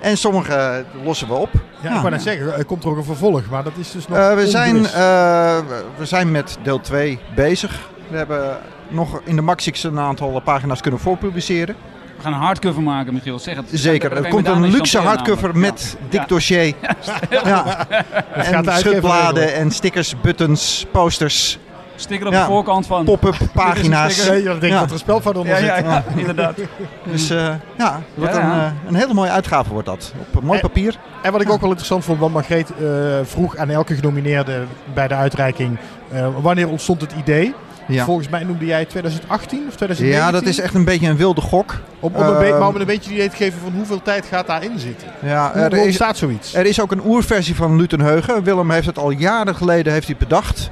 G: En sommige eh, lossen we op.
B: Ja, ik wou net zeggen, er komt er ook een vervolg, maar dat is dus nog
G: Eh, we, zijn,
B: onbewust.
G: eh, we zijn met deel 2 bezig. We hebben nog in de Maxix een aantal pagina's kunnen voorpubliceren.
F: We gaan een hardcover maken, Michiel. Zeg het.
G: Zeker,
F: Daar kan
G: er
F: je
G: komt
F: met aan
G: een
F: mee
G: luxe
F: stamperen
G: hardcover
F: namelijk.
G: met
F: Ja.
G: dik
F: [laughs]
G: dossier. Ja.
B: gaat de
G: En
B: uitgever
G: schutbladen
B: regelen.
G: en stickers, buttons, posters,
F: Ja. Sticker op
G: Ja.
F: de voorkant van. [laughs]
G: pop-up pagina's.
F: sticker.
B: Nee, dat denk
G: Ja.
B: dat er een spel van onder
F: Ja,
B: zit.
F: ja, ja, inderdaad.
G: Dus eh, ja, het wordt
F: Ja, ja.
G: Een, eh, een hele mooie uitgave wordt dat. Op mooi
B: Eh,
G: papier.
B: En wat ik ook wel interessant vond, want Margreet eh, vroeg aan elke genomineerde bij de uitreiking, eh, wanneer ontstond het idee?
G: Ja.
B: Volgens mij noemde jij 2018 of 2019?
G: ja, dat is echt een beetje een wilde gok.
B: Om, om een be-
G: Ehm,
B: maar om een beetje het idee te geven van hoeveel tijd gaat daarin zitten.
G: Ja,
B: Hoe
G: er,
B: hoe
G: is,
B: ontstaat zoiets?
G: er is ook een oerversie van Lutenheugen. Willem heeft het al jaren geleden heeft hij bedacht.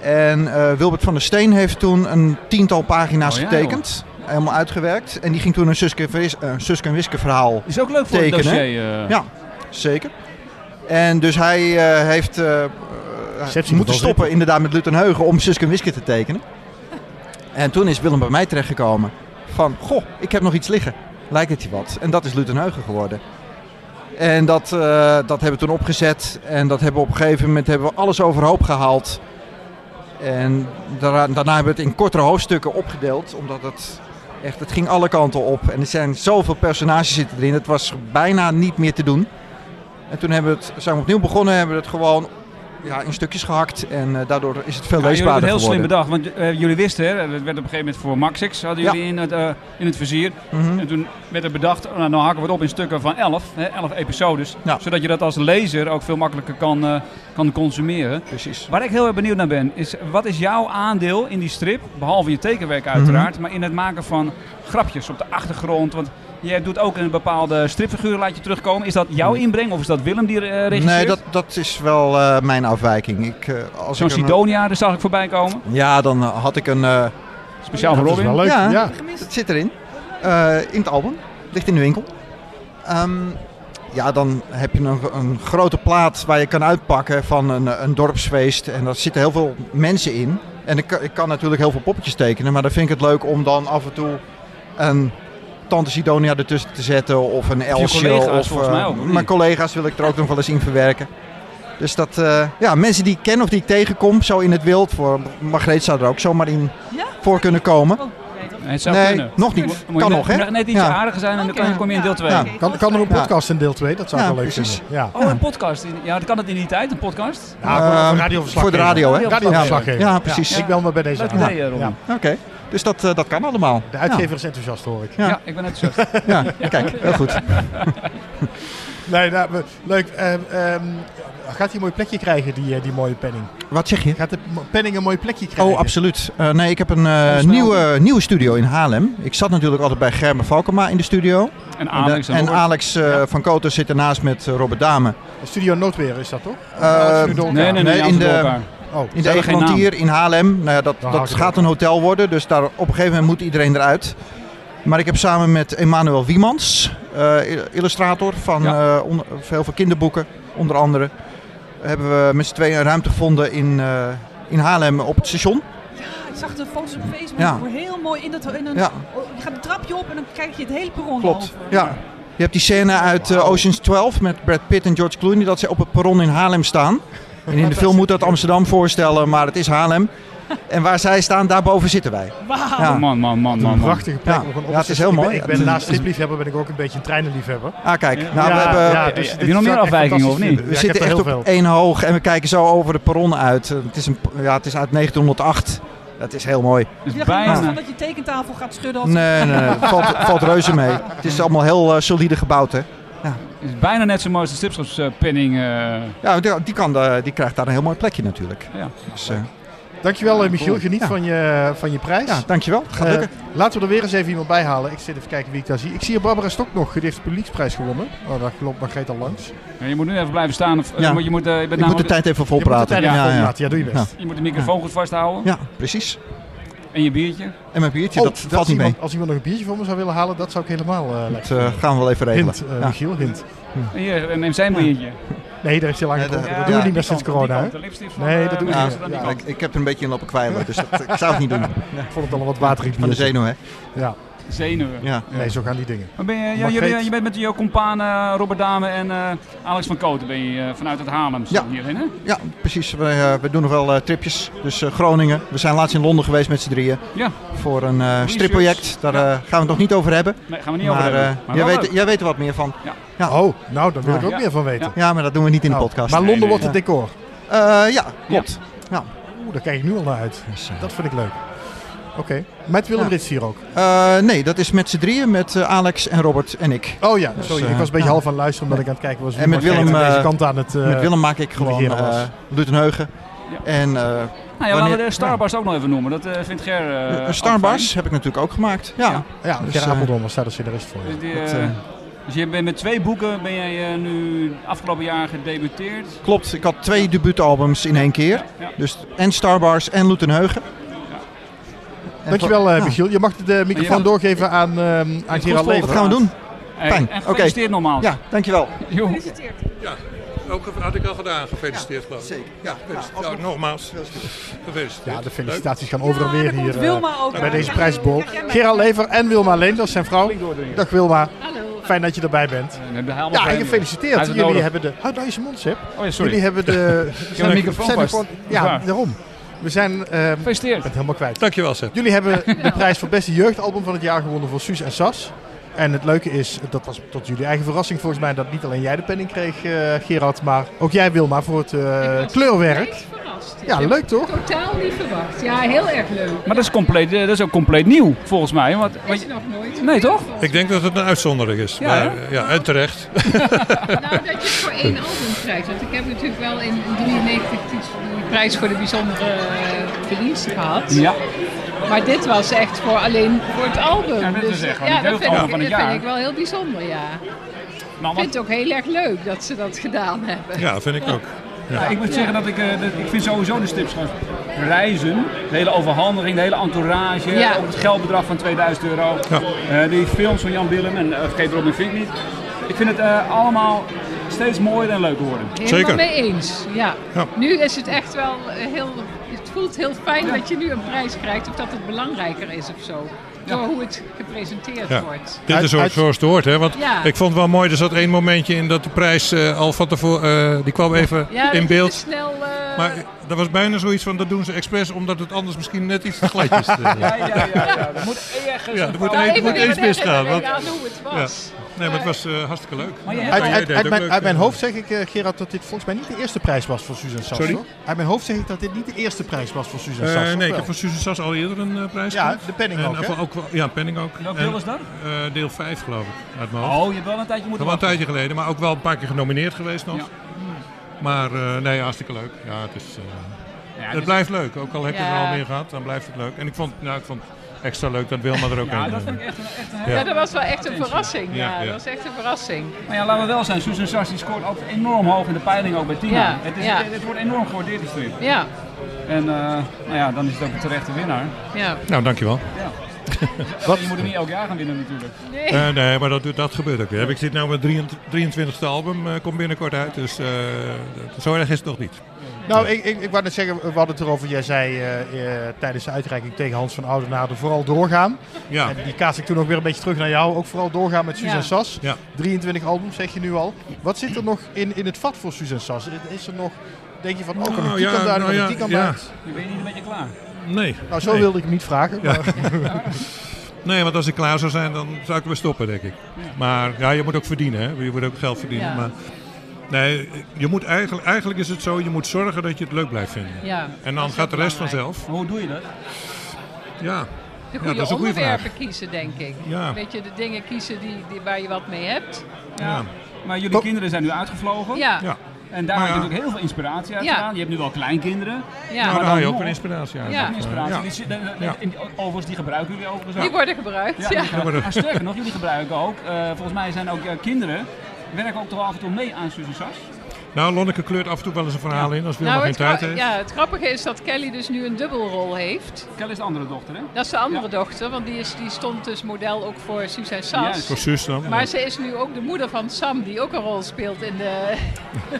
G: En eh, Wilbert van der Steen heeft toen een tiental pagina's
F: Oh ja,
G: getekend. Helemaal uitgewerkt. En die ging toen een Suske, en Wis- eh, Suske en Wiske verhaal.
F: Is ook leuk voor het
G: Tekenen.
F: dossier. eh.
G: Ja. Zeker. En dus hij eh, heeft eh, eh,
B: Sepsi moet wel
G: moeten stoppen inderdaad met Lutenheugen om Suske en Wiske te tekenen. En toen is Willem bij mij terechtgekomen. Van, goh, ik heb nog iets liggen. Lijkt het je wat? En dat is Lutenheugen geworden. En dat, eh, dat hebben we toen opgezet. En dat hebben we op een gegeven moment hebben we alles overhoop gehaald. En daarna, daarna hebben we het in kortere hoofdstukken opgedeeld. Omdat het echt, het ging alle kanten op. En er zijn zoveel personages zitten erin. Het was bijna niet meer te doen. En toen hebben we het, zijn we opnieuw begonnen. Hebben we het gewoon ja, in stukjes gehakt. En eh, daardoor is het veel
F: Ja, jullie hebben
G: leesbaarder
F: het heel slim
G: geworden.
F: bedacht, want eh, jullie wisten, hè, het werd op een gegeven moment voor Maxix, hadden
G: Ja.
F: jullie in, het, eh, in het vizier.
G: Mhm.
F: En toen werd er bedacht, nou, nou hakken we het op in stukken van 11, hè, 11 episodes.
G: Ja.
F: Zodat je dat als lezer ook veel makkelijker kan, eh, kan consumeren.
G: Precies.
F: Waar ik heel erg benieuwd naar ben, is wat is jouw aandeel in die strip, behalve je tekenwerk
G: Mhm.
F: uiteraard, maar in het maken van grapjes op de achtergrond? Want jij doet ook een bepaalde stripfiguur, laat je terugkomen. Is dat jouw inbreng of is dat Willem die eh, regisseert?
G: Mhm. Nee, dat, dat is wel eh, mijn afwijking. Ik, eh, als
F: Zo'n
G: ik een-
F: Sidonia, daar zag ik voorbij komen.
G: Ja, dan eh, had ik een... eh,
F: Speciaal
B: Ja,
F: voor
B: dat is
F: Robin.
B: wel leuk.
G: Ja.
B: Ja.
G: Het zit erin. Eh, in het album. Ligt in de winkel. Ehm, ja, dan heb je een, een grote plaat waar je kan uitpakken van een, een dorpsfeest. En daar zitten heel veel mensen in. En ik, kan- ik kan natuurlijk heel veel poppetjes tekenen. Maar dan vind ik het leuk om dan af en toe een Tante Sidonia ertussen te zetten. Of een Elsje.
F: collega's
G: of,
F: volgens
G: eh,
F: mij ook, of niet?
G: Mijn collega's wil ik er ook nog wel eens in verwerken. Dus dat, eh, ja, mensen die ik ken of die ik tegenkom, zo in het wild. Voor Margreet zou er ook zomaar in
C: Ja?
G: voor kunnen komen.
C: Oh, nee, dat
F: Nee, het zou
G: nee,
F: kunnen.
G: nog niet.
F: Moet je
G: Kan
F: net-
G: nog, hè?
F: moet je Net iets
G: Ja.
F: aardiger zijn en dan kan-
C: Oké.
F: kom je in deel 2.
G: Ja.
C: oké,
B: Kan, kan er een
C: dat is
B: podcast in deel 2? Dat zou ik
G: Ja,
B: wel leuk
G: precies.
B: vinden. Ja.
F: Oh, een podcast. Ja, dat kan dat in die tijd, een podcast.
B: Ja, voor- voor
G: Ehm,
B: radioverslag
G: voor de
B: geven.
G: radio, hè? Ja,
B: Radioverslag geven.
G: ja, precies.
B: Ik bel me bij deze
F: Leuk
B: aan.
F: idee, Robin.
B: Ja.
G: Oké, dus dat, eh, dat kan allemaal.
B: De uitgever is enthousiast, hoor ik.
G: Ja.
F: Ja. ik ben net zo.
G: [laughs] Ja, ja, kijk, heel
F: [laughs]
G: goed.
B: [laughs] Nee, nou, we- leuk. Ehm, ehm, gaat hij een mooi plekje krijgen, die, eh, die mooie penning?
G: Wat zeg je?
B: Gaat de mo- penning een mooi plekje krijgen?
G: Oh, absoluut. Eh, nee, ik heb een eh,
B: snel.
G: nieuwe, nieuwe studio in Haarlem. Ik zat natuurlijk altijd bij Gerben Valkema in de studio.
F: En Alex
G: en
F: en Robert.
G: Alex eh, van Koten zit ernaast met eh, Robert Dame.
B: Studio Noodweer is dat, toch?
G: Eh,
B: Of door elkaar?
F: Nee, nee,
G: Nee,
F: nee,
G: in
F: in
G: de-
F: elkaar.
B: Oh,
G: in
F: Ze
G: de
F: hebben geen naam.
G: Egmontier in Haarlem. Nou ja, dat,
B: Dan haak
G: dat
B: ik
G: gaat een hotel worden, dus daar, op een gegeven moment moet iedereen eruit. Maar ik heb samen met Emmanuel Wiemans, eh, illustrator van
F: Ja.
G: eh, onder- heel veel kinderboeken, onder andere, hebben we met z'n tweeën een ruimte gevonden in, eh, in Haarlem op het station.
C: Ah, Ik zag de foto's op Facebook
G: Ja.
C: voor heel mooi in dat in een,
G: Ja.
C: oh, je gaat een trapje op en dan kijk je het hele perron
G: Klopt.
C: over.
G: Ja. Je hebt die scène uit eh, Ocean's 12 met Brad Pitt en George Clooney dat ze op het perron in Haarlem staan. En
B: [laughs]
G: in de film moet dat Amsterdam voorstellen, maar het is Haarlem. En waar zij staan, daarboven zitten wij.
C: Wauw.
G: Ja.
F: Oh, Man, man, man, man.
B: een
F: man.
B: prachtige plek.
G: Ja.
B: om een
G: Ja, het
B: opzet-
G: is heel
B: ik ben-
G: mooi.
B: Ik
G: Het
B: ben
G: is-
B: naast stripliefhebber ben ik ook een beetje een treinenliefhebber.
G: Ah, kijk. Nou, we
B: Ja,
G: hebben,
B: ja, dus
F: Heb
B: dit
F: je nog meer
B: zou ik echt
F: afwijkingen,
B: fantastisch
F: of niet?
B: vinden.
G: We
B: Ja, ik heb
G: zitten
B: er
G: echt
B: heel
G: op
B: veel.
G: één hoog en we kijken zo over de perron uit. Eh, Het is, een, ja, het is uit 1908. Dat is heel mooi.
F: Dus
C: Je dacht
F: bijna.
C: niet dat je tekentafel gaat schudden als
G: Nee, nee, nee. Het valt,
C: [laughs]
G: het valt reuze mee. Het is allemaal heel eh, solide gebouwd, hè.
F: is bijna net zo mooi als de Stipschapspenning. eh
G: Ja, die, die kan, eh, die krijgt daar een heel mooi plekje natuurlijk.
F: Ja.
G: Dus, eh,
B: Dankjewel, eh, Michiel. Geniet
G: Ja.
B: van, je, eh, van je prijs.
G: ja, dankjewel. Het gaat
B: Eh,
G: lukken.
B: laten we er weer eens even iemand bij halen. Ik zit even kijken wie ik daar zie. Ik zie hier Barbara Stok nog. Die heeft de publieksprijs gewonnen. Oh, daar loopt Margreet al langs. Je
F: ja, je moet nu even blijven staan. Of, eh,
G: Ja.
F: je moet- je, moet, eh, je, bent
G: ik moet de
F: namelijk-
G: tijd even
B: moet het
G: volpraten.
B: uiteindelijk
G: ja,
B: gewoon
G: ja.
B: laten. Ja, doe je best.
F: je moet de microfoon goed vasthouden.
G: ja, precies.
F: En je biertje?
G: En mijn biertje,
B: Oh,
G: dat valt niet
B: iemand,
G: mee.
B: Als iemand nog een biertje voor me zou willen halen, dat zou ik helemaal eh lekker
G: Dat eh, gaan we wel even regelen.
B: Hint, eh,
G: Ja.
B: Michiel, hint.
F: Hier, neem zijn biertje.
B: Nee, daar heeft hij lang
G: Nee,
B: gekomen.
G: dat-
B: Dat
G: ja,
B: doen we
G: die
B: niet meer sinds corona. hè? Nee, dat doen we
G: Ja,
B: niet.
G: ja,
B: Ja.
G: ik, ik heb er een beetje in lopen kwijlen, dus dat, ik zou het niet doen.
B: [laughs] Ik vond het allemaal wat waterig
G: Van de
B: biertje.
G: zenuw, hè?
B: Ja,
F: Zenuwen.
G: Ja.
B: nee, zo gaan die dingen.
F: Maar ben je, ja,
B: Margreet.
F: jullie- eh, je bent met jouw compaan eh, Robert Dame en eh, Alex van Kooten ben je, eh, vanuit het Haarlem
G: Ja.
F: hierin, hè?
G: Ja, precies. We, eh, we doen nog wel eh, tripjes. Dus eh, Groningen. We zijn laatst in Londen geweest met z'n drieën.
F: Ja.
G: Voor een eh, stripproject. Daar eh, gaan we het nog niet over hebben.
F: Nee, gaan we niet over
G: Maar,
F: hebben.
G: eh, jij,
F: wel
G: weet,
F: leuk.
G: jij weet er wat meer van.
B: Oh, nou, daar wil ik ook
F: Ja.
B: meer van weten.
F: Ja.
G: Ja, maar dat doen we niet in de
B: Nou,
G: podcast.
B: Maar
F: Nee,
B: Londen
F: nee,
B: wordt het decor.
G: Eh, ja, klopt.
B: Oeh, daar kijk ik nu al naar uit.
G: Dus, eh,
B: Dat vind ik leuk. Oké, met Willem
G: Ja.
B: Rits hier ook.
G: eh, nee, dat is met z'n drieën. Met eh, Alex en Robert en ik.
B: Oh ja, sorry.
G: eh,
B: ik was een beetje
G: ja.
B: half aan het luisteren omdat ik aan het kijken was. wie
G: En met
B: Margreet
G: Willem,
B: aan deze
G: eh,
B: kant aan het... eh,
G: met Willem maak ik gewoon
B: Regeren was.
G: eh Lutenheugen.
F: Ja.
G: En eh,
F: Nou ja, laten we
G: wanneer-
F: de Starbucks ook nog even noemen. Dat eh, vindt Ger eh,
G: een
F: ook
G: Starbars heb ik natuurlijk ook gemaakt. Ja.
F: Ja.
B: Ja,
G: Dus,
B: Gerard
G: eh,
B: Apeldoorn was daar de rest voor.
F: fijn.
B: je.
F: Dus, die,
G: Dat,
F: eh,
G: eh,
F: dus je bent met twee boeken ben jij eh, nu afgelopen jaar gedebuteerd.
G: Klopt, ik had twee debuutalbums in één keer.
F: Ja.
G: Dus en Starbars en Lutenheugen. En
B: Dankjewel, eh,
G: Ja.
B: Michiel. Je mag de microfoon
F: Ja.
B: doorgeven aan, ehm aan Gerard
F: volgen.
B: Lever.
G: Wat gaan we doen?
F: Hey,
G: Fijn,
F: En
G: oké.
F: gefeliciteerd nogmaals.
G: Ja, dankjewel.
F: Joh.
C: Gefeliciteerd.
H: Ook had ik al gedaan. Gefeliciteerd, geloof ik.
G: Zeker. Ja,
H: Gefeliciteerd. Ja, nogmaals. Gefeliciteerd.
B: Nou, Ja, de
H: Leuk.
B: felicitaties gaan over en weer
C: daar komt
B: hier eh,
C: Wilma ook
B: bij
C: aan.
B: deze
C: Ja,
B: prijsbol.
C: kijk jij mee.
B: Gerard Lever en Wilma Leen, dat is zijn vrouw. Dag Wilma, fijn dat je erbij bent.
F: We hebben helemaal
B: Ja, en
F: geen- Hij
B: gefeliciteerd.
F: heeft het
B: Jullie
F: nodig.
B: hebben de... Hou nou eens je mond, Sip.
F: Oh ja, sorry.
B: Jullie hebben
F: [laughs]
B: de... zijn
F: de microfoon
B: zijn er
F: vast.
B: gewoon-
F: Dat
B: Ja,
F: is waar.
B: daarom. We zijn... ehm, ik ben
F: Gefeliciteerd.
B: het helemaal kwijt.
H: Dankjewel, Seb.
B: Jullie hebben
F: [laughs]
B: de prijs voor beste jeugdalbum van het jaar gewonnen voor Suus en Sas. En het leuke is, dat was tot jullie eigen verrassing volgens mij, dat niet alleen jij de penning kreeg, eh, Gerard, maar ook jij Wilma voor het eh, kleurwerk.
I: Echt verrast.
B: Ja, leuk toch?
I: Totaal niet verwacht. Ja, heel erg leuk.
F: Maar dat is, compleet, eh, dat is ook compleet nieuw, volgens mij. Want,
I: Dat
F: want
I: is nog nooit.
F: Nee, toch?
H: Ik denk dat het een uitzondering is.
F: Ja,
H: maar, eh, ja en terecht.
I: Nou, dat je het voor één album krijgt. Want ik heb natuurlijk wel in 93 die prijs voor de bijzondere eh, verdiensten gehad.
F: ja.
I: Maar dit was echt voor alleen voor het album.
F: Ja, dit is
I: Dus,
F: echt wel
I: ja,
F: een
I: dat vind,
F: jeugdalbum
I: ik,
F: van het
I: dat
F: jaar.
I: vind ik wel heel bijzonder, ja. Ik
F: Nou, want-
I: vind het ook heel erg leuk dat ze dat gedaan hebben.
H: Ja, vind ik ook.
F: Ja, ik moet zeggen dat ik, eh, dat- ik vind sowieso de stipschrift reizen, de hele overhandeling, de hele entourage,
I: Ja.
F: ook het geldbedrag van 2000 euro, eh, die films van Jan Willem en eh, vergeet Robin Fink niet. Ik vind het eh, allemaal steeds mooier en leuker worden.
I: Helemaal
H: Zeker.
I: mee eens. Ja.
H: Ja.
I: Nu is het echt wel eh, heel. Het voelt heel fijn dat je nu een prijs krijgt of dat het belangrijker is of zo. Door hoe het gepresenteerd
H: Ja.
I: wordt.
H: Dit
B: Uit-
H: is ook
B: uit-
H: zoals het hoort, hè? Want
I: Ja.
H: ik vond het wel mooi, er zat één momentje in dat de prijs eh, al van tevoren. eh, die kwam even
I: Ja, dat
H: in
I: is
H: beeld.
A: dus,
I: Snel, eh,
H: Maar eh, dat was bijna zoiets van: dat doen ze expres, omdat het anders misschien net iets te glad is. Eh,
F: Ja, ja, ja, ja. Er moet ergens
H: Ja,
F: een
H: er moet
F: verhaal-
H: één- het moet
I: even
H: eens misgaan,
I: herinneren
H: want-
I: aan hoe het was.
H: Nee, maar het was eh, hartstikke leuk.
F: Maar je hebt
B: Uit,
H: Ja, jij
B: uit,
H: deed
B: uit
H: ook
B: mijn,
H: leuk,
B: uit mijn
H: eh,
B: hoofd zeg ik, eh, Gerard, dat dit volgens mij niet de eerste prijs was voor Suus en Sas.
H: Sorry?
B: toch? Uit mijn hoofd zeg ik dat dit niet de eerste prijs was voor Suus en
H: Eh,
B: Sas. toch
H: nee, ik
B: wel?
H: heb voor Susan Sas al eerder een eh, prijs
B: Ja,
H: gehad.
B: de penning
H: En,
B: ook,
H: eh,
B: hè?
H: voor- wel- ja, penning ook.
F: Welk
H: En,
F: deel was dat?
H: eh, deel 5, geloof ik, uit mijn hoofd.
F: Oh, je hebt wel een tijdje moeten
H: Dat was een
F: wachten.
H: tijdje geleden, maar ook wel een paar keer genomineerd geweest nog.
F: Ja.
H: Maar eh, nee, hartstikke leuk. Ja, het, is, eh,
F: Ja,
H: het
F: dus-
H: blijft leuk. Ook al heb je er
I: Ja.
H: al meer gehad, dan blijft het leuk. En ik vond, nou, ik vond het extra leuk dat Wilma er ook
F: ja,
H: een
F: dat
H: eh,
F: vind ik echt een, echt een
I: Ja.
F: hele...
I: dat was wel echt een verrassing. Ja,
H: Ja, ja.
I: dat was echt een verrassing.
F: Maar ja, laten we wel zijn, Susan Sars die scoort ook enorm hoog in de peiling, ook bij Tina.
I: Ja,
F: het, is,
I: ja.
F: het, het wordt enorm gewaardeerd, die strip.
I: Ja,
F: En eh, nou ja, dan is het ook een terechte winnaar.
I: ja.
H: Nou, dankjewel.
B: [laughs]
F: Je moet er niet elk jaar gaan winnen natuurlijk.
I: Nee.
H: Eh, nee, maar dat, dat gebeurt ook weer. Ik zit nu met 23 e album, eh, komt binnenkort uit. Dus eh, dat- zo erg is het nog niet.
B: Nou, ik, ik, ik wou net zeggen, we hadden het erover. Jij zei eh, eh, tijdens de uitreiking tegen Hans van Oudenaarde vooral doorgaan.
H: Ja,
B: En die kaas ik toen ook weer een beetje terug naar jou. Ook vooral doorgaan met Suus
I: Ja.
B: en Sas.
H: Ja.
B: 23 albums zeg je nu al. Wat zit er nog in, in het vat voor Suus en Sas? Is er nog, denk je van, oh, kan
H: Nou,
B: ik die
H: ja,
B: kant uit,
H: nou
B: kan ik
H: ja,
B: die kant
H: ja.
B: uit?
F: Dan ben je niet een beetje klaar.
H: nee.
B: Nou, zo
H: nee.
B: wilde ik hem niet vragen. Maar
H: [laughs] Nee, want als ik klaar zou zijn, dan zou ik weer stoppen, denk ik. Maar ja, je moet ook verdienen, hè? Je moet ook geld verdienen.
I: Ja.
H: Maar nee, je moet eigenlijk, eigenlijk is het zo, je moet zorgen dat je het leuk blijft vinden.
I: Ja,
H: en
I: dat
H: dan
I: is
H: gaat de rest
I: belangrijk.
H: vanzelf.
F: Maar hoe doe je dat?
H: Ja. Ja,
I: De goede
H: dat is een goede
I: onderwerpen kiezen, denk ik.
H: Ja.
I: Weet je, de dingen kiezen die, die, waar je wat mee hebt.
H: Ja.
F: Maar jullie
B: Top.
F: kinderen zijn nu uitgevlogen.
I: Ja, ja.
H: ja.
F: En daar
H: Maar
F: heb
H: ja.
F: je natuurlijk heel veel inspiratie uit
I: Ja.
F: gedaan. Je hebt nu wel kleinkinderen.
H: Nou,
F: maar
H: daar haal je
F: dan
H: ook
F: nog.
H: weer inspiratie uit.
I: Ja.
F: Inspiratie.
H: Ja.
F: Die zit- eh, eh,
H: Ja.
F: in- overigens, die gebruiken jullie overigens
I: die
F: ook.
I: worden gebruikt.
F: Ja,
I: Ja.
F: die
H: Ja, maar dat-
F: gebruiken- Maar sterker nog, jullie gebruiken ook, eh, volgens mij zijn ook eh, kinderen, werken ook toch af en toe mee aan Susan Sas?
H: Nou, Lonneke kleurt af en toe wel eens een verhaal in als Wilma
I: Nou,
H: geen
I: het,
H: tijd
I: gra-
H: heeft.
I: ja, het grappige is dat Kelly dus nu een dubbelrol heeft.
F: Kelly is de andere dochter, hè?
I: Dat is de andere dochter, want die, is, die stond dus model ook voor Suzanne
F: Juist.
I: Sas.
H: Voor zus dan.
I: Maar ze is nu ook de moeder van Sam, die ook een rol speelt in de,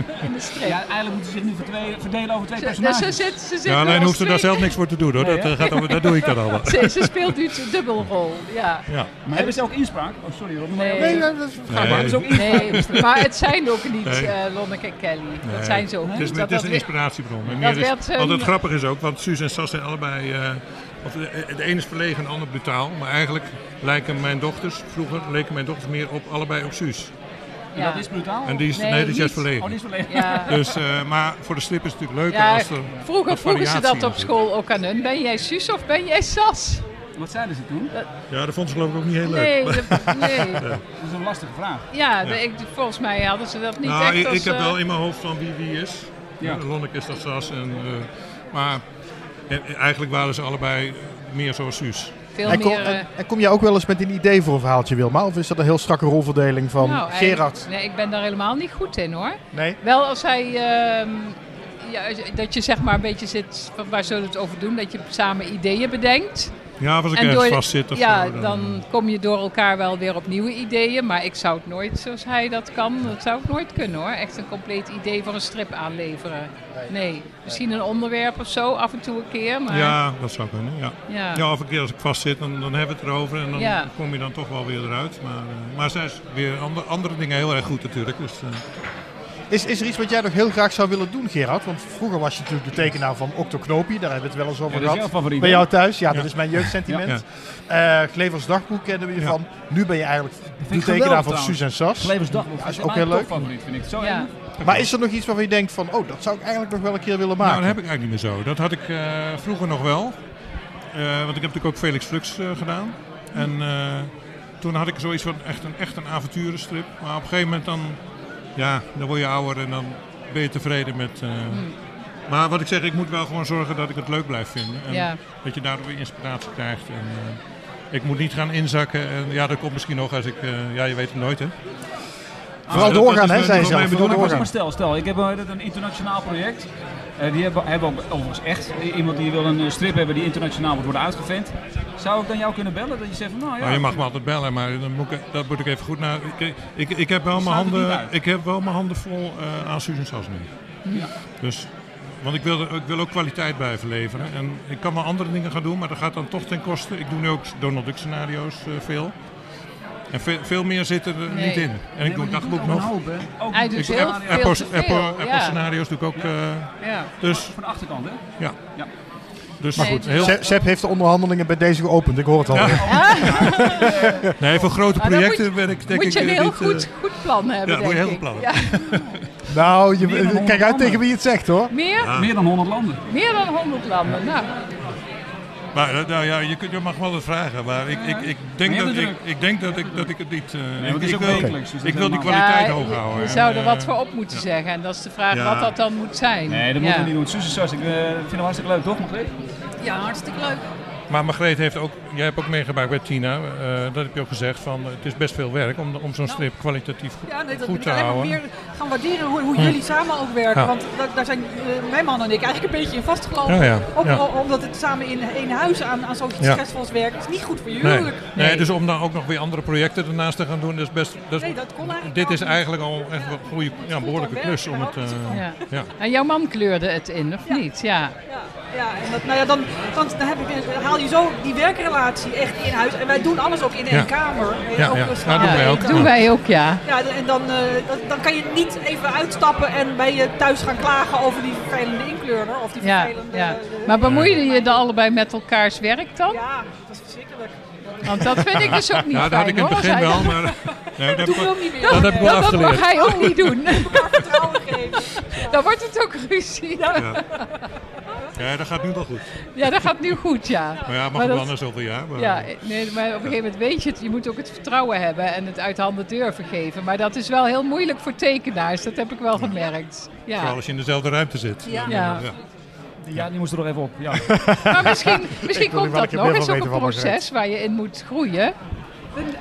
I: [laughs] in de strip.
F: Ja, eigenlijk moeten ze zich nu verdwe- verdelen over twee
I: Ze, dus ze
F: personages.
I: zit, ze zit
H: ja,
I: nu
H: alleen
I: als
H: hoeft ze daar
I: twee-
H: zelf niks voor te doen hoor.
F: Nee,
H: dat,
F: hè?
H: eh, gaat over, dat doe ik dan allemaal.
I: [laughs] Ze, ze speelt nu de dubbelrol, ja.
H: Ja.
F: Maar hebben ze ook inspraak? Oh, sorry Rob.
I: Nee.
F: Maar-
I: Nee,
H: Nee,
F: Hebben ze ook inspraak?
I: Nee, maar het zijn ook niet
H: Nee.
I: eh, Lonneke en Kelly.
H: Nee.
I: Dat zijn ze ook
H: Het
I: niet.
H: is, het
I: Dat-
H: is
I: dat
H: een
I: wi-
H: inspiratiebron. En
I: dat
H: meer is-
I: werd, eh,
H: want het
I: niet-
H: grappige is ook, want Suus en Sas zijn allebei... eh, of de, de een is verlegen, de ander brutaal. Maar eigenlijk lijken mijn dochters, vroeger leken mijn dochters meer op allebei op Suus.
I: ja.
F: Dat is brutaal.
H: En die is, nee,
I: Nee,
H: die is juist
I: niet.
F: Oh,
H: verlegen.
F: die is verlegen. [laughs]
I: Ja.
H: Dus, eh, maar voor de slip is het natuurlijk leuker
I: Ja,
H: als er
I: vroeger
H: wat
I: vroegen ze
H: variatie
I: dat
H: in
I: op
H: zit.
I: school ook aan hun. Ben jij Suus of ben jij Sas?
F: Wat zeiden ze toen?
H: Ja, dat vond ze geloof ik ook niet heel leuk. Ah,
I: Nee, dat-
H: [laughs]
I: nee.
F: Dat is een lastige vraag.
I: Ja, de- ik, volgens mij hadden ze dat niet
H: nou,
I: echt
H: ik,
I: als...
H: ik heb
I: eh,
H: wel in mijn hoofd van wie wie is.
F: Ja.
H: Lonneke is dat Sas. En, eh, maar eh, eigenlijk waren ze allebei meer zoals Suus.
I: veel
B: En kom,
I: meer... eh,
B: en- en kom jij ook wel eens met een idee voor een verhaaltje, Wilma? Of is dat een heel strakke rolverdeling van
I: nou, eigenlijk-
B: Gerard?
I: Nee, ik ben daar helemaal niet goed in hoor.
B: Nee?
I: Wel als hij... ehm, ja, dat je zeg maar een beetje zit van waar zullen we het over doen? Dat je samen ideeën bedenkt.
H: Ja, of als ik ergens vast zit of
I: ja,
H: zo,
I: dan kom je door elkaar wel weer op nieuwe ideeën. Maar ik zou het nooit zoals hij dat kan, dat zou ik nooit kunnen hoor. Echt een compleet idee voor een strip aanleveren. Nee, misschien een onderwerp of zo, af en toe een keer. Maar
H: Ja, dat zou kunnen, ja.
I: ja.
H: Ja, of een keer als ik vast zit, dan, dan hebben we het erover en dan
I: Ja.
H: kom je dan toch wel weer eruit. Maar, eh, maar zij is weer ander, andere dingen heel erg goed natuurlijk. Dus, eh,
B: Is, is er iets wat jij nog heel graag zou willen doen, Gerard? Want vroeger was je natuurlijk de tekenaar van Octo Knoopie. Daar hebben we het wel eens
F: Ja,
B: over
F: dat is jouw
B: gehad.
F: favoriet.
B: Bij
F: hè?
B: jou thuis? Ja, dat
H: Ja.
B: is mijn jeugdsentiment. Eh, Glevers Dagboek kennen we je
H: Ja.
B: van. Nu ben je eigenlijk de
F: ik
B: tekenaar
F: geweldig
B: van
F: trouwens.
B: Suus en Sas.
F: Levens Dagboek.
B: Ja, is
F: Dat
B: ook heel
F: mijn
B: leuk.
F: topfavoriet, vind ik. Zo
I: Ja.
F: ja.
B: Maar is er nog iets waarvan je denkt van... Oh, dat zou ik eigenlijk nog wel een keer willen
H: nou,
B: maken?
H: dat heb ik eigenlijk niet meer zo. Dat had ik eh, vroeger nog wel. Eh, want ik heb natuurlijk ook Felix Flux eh, gedaan. En eh, toen had ik zoiets van echt een, echt een avonturenstrip. Maar op een gegeven moment dan, ja, dan word je ouder en dan ben je tevreden met... eh,
B: Hmm.
H: Maar wat ik zeg, ik moet wel gewoon zorgen dat ik het leuk blijf vinden. En
I: Ja.
H: Dat je daardoor weer inspiratie krijgt. En, eh, ik moet niet gaan inzakken. En ja, dat komt misschien nog als ik... eh, ja, je weet het nooit, hè?
B: Vooral
H: dat- dat
B: doorgaan,
H: is
B: hè,
H: wel-
B: zei
H: dat
B: ze.
H: is wel mijn
B: zelf. Vooral
H: bedoeling,
F: Maar,
B: doorgaan.
F: maar stel, stel, ik heb eh, dit een internationaal project. Eh, die hebben, hebben ook overigens echt eh, iemand die wil een eh, strip hebben die internationaal moet worden uitgevent. Zou ik dan jou kunnen bellen? Dat je zegt van nou ja.
H: Nou, je mag me altijd bellen, maar dan moet ik, dat moet ik even goed naar. Ik, ik, ik, heb, wel
F: Dan
H: mijn
F: sluit het niet
H: handen,
F: uit.
H: ik heb wel mijn handen vol eh, aan Susan Sas nu. Dus, want ik wil, er- ik wil ook kwaliteit blijven leveren. En ik kan wel andere dingen gaan doen, maar dat gaat dan toch ten koste. Ik doe nu ook Donald Duck scenario's eh, veel. En veel, veel meer zit er eh,
I: Nee.
H: niet in. En ik doe het dagboek nog.
F: Ook
I: Hij doet
H: Ik
I: Dus
H: doe
I: heel
H: app-
I: veel
H: Apple,
I: te veel,
H: Apple,
I: ja.
H: Apple scenario's doe ik ook. eh,
I: ja.
H: dus,
F: van de achterkant, hè?
H: ja.
F: Ja.
H: Dus maar
I: Nee,
H: goed,
I: dus-
H: heel,
B: Seb- Seb heeft de onderhandelingen bij deze geopend. Ik hoor het al.
H: [laughs] nee, voor grote
I: Maar Nou, dan
H: projecten
I: moet-
H: ben ik denk
I: Moet je
H: ik
I: een
H: eh,
I: heel
H: niet, eh,
I: goed, goed plan hebben,
H: ja, moet
I: denk
H: je heel
I: ik.
H: goed plannen.
I: Ja.
B: [laughs] Nou, je-
F: Meer dan honderd
B: kijk uit tegen
F: landen.
B: wie je het zegt, hoor.
I: Meer,
H: Nou,
F: Meer dan 100 landen.
I: meer dan 100 landen. Nou,
H: Maar eh, nou ja, je, kunt, je mag wel het vragen, maar ik, ik, ik, denk,
F: Maar je
H: dat,
F: hebt het
H: ik, ik denk dat ik, dat ik het niet... eh,
F: want
H: ik,
F: het is
H: ik
F: ook
H: wil,
F: wekelijks, dus dat
H: ik wil die
F: helemaal-
H: kwaliteit
I: ja,
H: hoog houden.
I: Je, je
H: En,
I: zou er
H: eh,
I: wat voor op moeten zeggen. En dat is de vraag
H: Ja.
I: wat dat dan moet zijn.
F: Nee, dat
I: ja.
F: moeten we niet doen. Sussen Sas, ik eh, vind het hartstikke leuk, toch? Margreet?
C: Ja, hartstikke leuk.
H: Eh, Maar Margreet heeft ook, jij hebt ook meegemaakt bij Tina, eh, dat heb je ook gezegd, van, eh, het is best veel werk om, om zo'n
I: Nou.
H: strip kwalitatief go-
C: Ja, nee, dat
H: goed
C: moet
H: te
C: ik alleen maar
H: houden. Hm.
C: meer gaan waarderen hoe, hoe jullie samen ook werken.
H: Ja.
C: Want da- daar zijn eh, mijn man en ik eigenlijk een beetje in vastgelopen.
H: Ja, ja.
C: Om-
H: Ja.
C: om- omdat het samen in één huis aan, aan zoiets
H: Ja.
C: stressvols werken is niet goed voor je
H: Nee.
C: huwelijk.
H: Nee, dus om dan ook nog weer andere projecten ernaast te gaan doen, dat is best... Dat is-
C: Nee, dat kon eigenlijk
H: dit
C: al
H: is
C: niet.
H: eigenlijk al echt wel een goede, ja, een behoorlijke
C: goed
H: klus om het...
C: werk,
H: eh,
I: Ja.
H: ja.
I: En jouw man kleurde het in, of niet? Ja.
C: Ja, ja, en dat, nou ja, dan, dan, dan heb ik, dan haal je zo die werkrelatie echt in huis. En wij doen alles ook in één
H: Ja.
C: kamer. En
H: Ja,
C: ook
H: ja.
C: een
H: Nou, doen wij
C: samen-
H: ook.
C: Ja,
I: Doen wij ook, ja.
C: Ja, en dan, eh, dat- dan kan je niet even uitstappen en bij je thuis gaan klagen over die vervelende inkleurder. Of die
I: ja,
C: vervelende...
I: ja.
C: eh,
I: Maar bemoeiden je dan allebei met elkaars werk dan?
C: Ja, Ah, dat is verschrikkelijk.
I: Want dat vind ik dus ook niet
H: Ja, dat had ik
I: fijn
H: in het
I: hoor.
H: begin
I: als hij
H: wel,
I: [laughs] dat-
H: maar... Nee, dat heb ik
C: Doe ik
H: wel-
C: ook niet meer.
H: dat heb ik wel
I: dat, dat
H: afgeleerd.
I: mag hij ook niet
H: [laughs]
I: doen.
C: vertrouwen geven.
I: Dan wordt het ook ruzie. Ja,
H: Ja, dat gaat nu wel goed.
I: dat gaat nu goed, ja.
H: Maar ja, mag
I: Maar
H: wel
I: dat-
H: na zoveel jaar. maar-
I: Ja, nee, maar op een gegeven moment weet je het. Je moet ook het vertrouwen hebben en het uit handen durven geven. Maar dat is wel heel moeilijk voor tekenaars. Dat heb ik wel gemerkt.
H: Vooral
I: Ja.
H: als je in dezelfde ruimte zit.
C: Ja.
I: Ja.
F: Ja, die moest er nog even
I: [laughs]
F: op. Ja.
I: Maar misschien, misschien
B: wil er
I: komt
B: wel een
I: dat
B: keer
I: nog.
B: meer
I: Het is
B: van weten
I: ook een
B: van
I: proces waar je in moet groeien.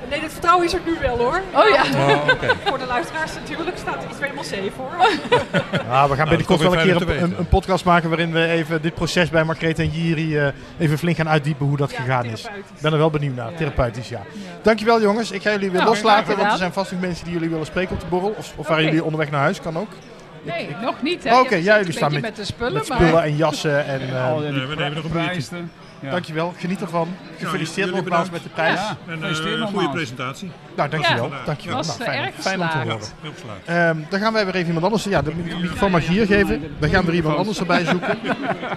C: Nee, dat vertrouwen is er nu wel hoor. eh,
I: Oh ja.
D: Oh, oké.
C: Voor de luisteraars natuurlijk staat iets helemaal safe hoor.
B: Ja, Ah, we
D: Nou,
B: gaan binnenkort
H: dat
B: wel
H: is
B: een
H: toch weer fijn om
B: keer een,
H: te
B: een,
H: weten.
B: een podcast maken waarin we even dit proces bij Margreet en Jiri eh, even flink gaan uitdiepen hoe dat
C: Ja,
B: gegaan is.
C: therapeutisch.
B: Ik ben er wel benieuwd naar, therapeutisch ja. Dankjewel jongens, ik ga jullie weer
I: Nou,
B: loslaten, want er
I: gedaan.
B: zijn vast nog mensen die jullie willen spreken op de borrel. Of, of waren
I: Oké.
B: jullie onderweg naar huis, kan ook.
I: Nee, nog niet. hè.
B: Oké, ja,
I: Je zit
B: jullie
I: een beetje
B: staan met-
I: met, de spullen,
B: Met
I: maar...
B: spullen en jassen en... eh,
F: Al die
H: oh, Nee, we nemen nog een biertje.
F: prijzen. Ja.
B: Dankjewel, geniet ervan. Gefeliciteerd
H: jullie
B: nogmaals
H: bedankt.
B: met de prijs.
F: Ja,
H: En eh,
F: gefeliciteerd
H: een goede
F: nogmaals.
H: presentatie.
B: Nou, dankjewel.
I: Ja,
B: dankjewel.
I: was
B: nou,
I: eh,
B: fijn,
I: erg
B: fijn om te
I: geslaagd.
H: Ja,
B: horen.
H: heel geslaagd.
B: Ehm, dan gaan wij weer even iemand anders. Ja, de microfoon mag hier geven. Dan gaan we weer iemand anders erbij
H: [laughs]
B: zoeken.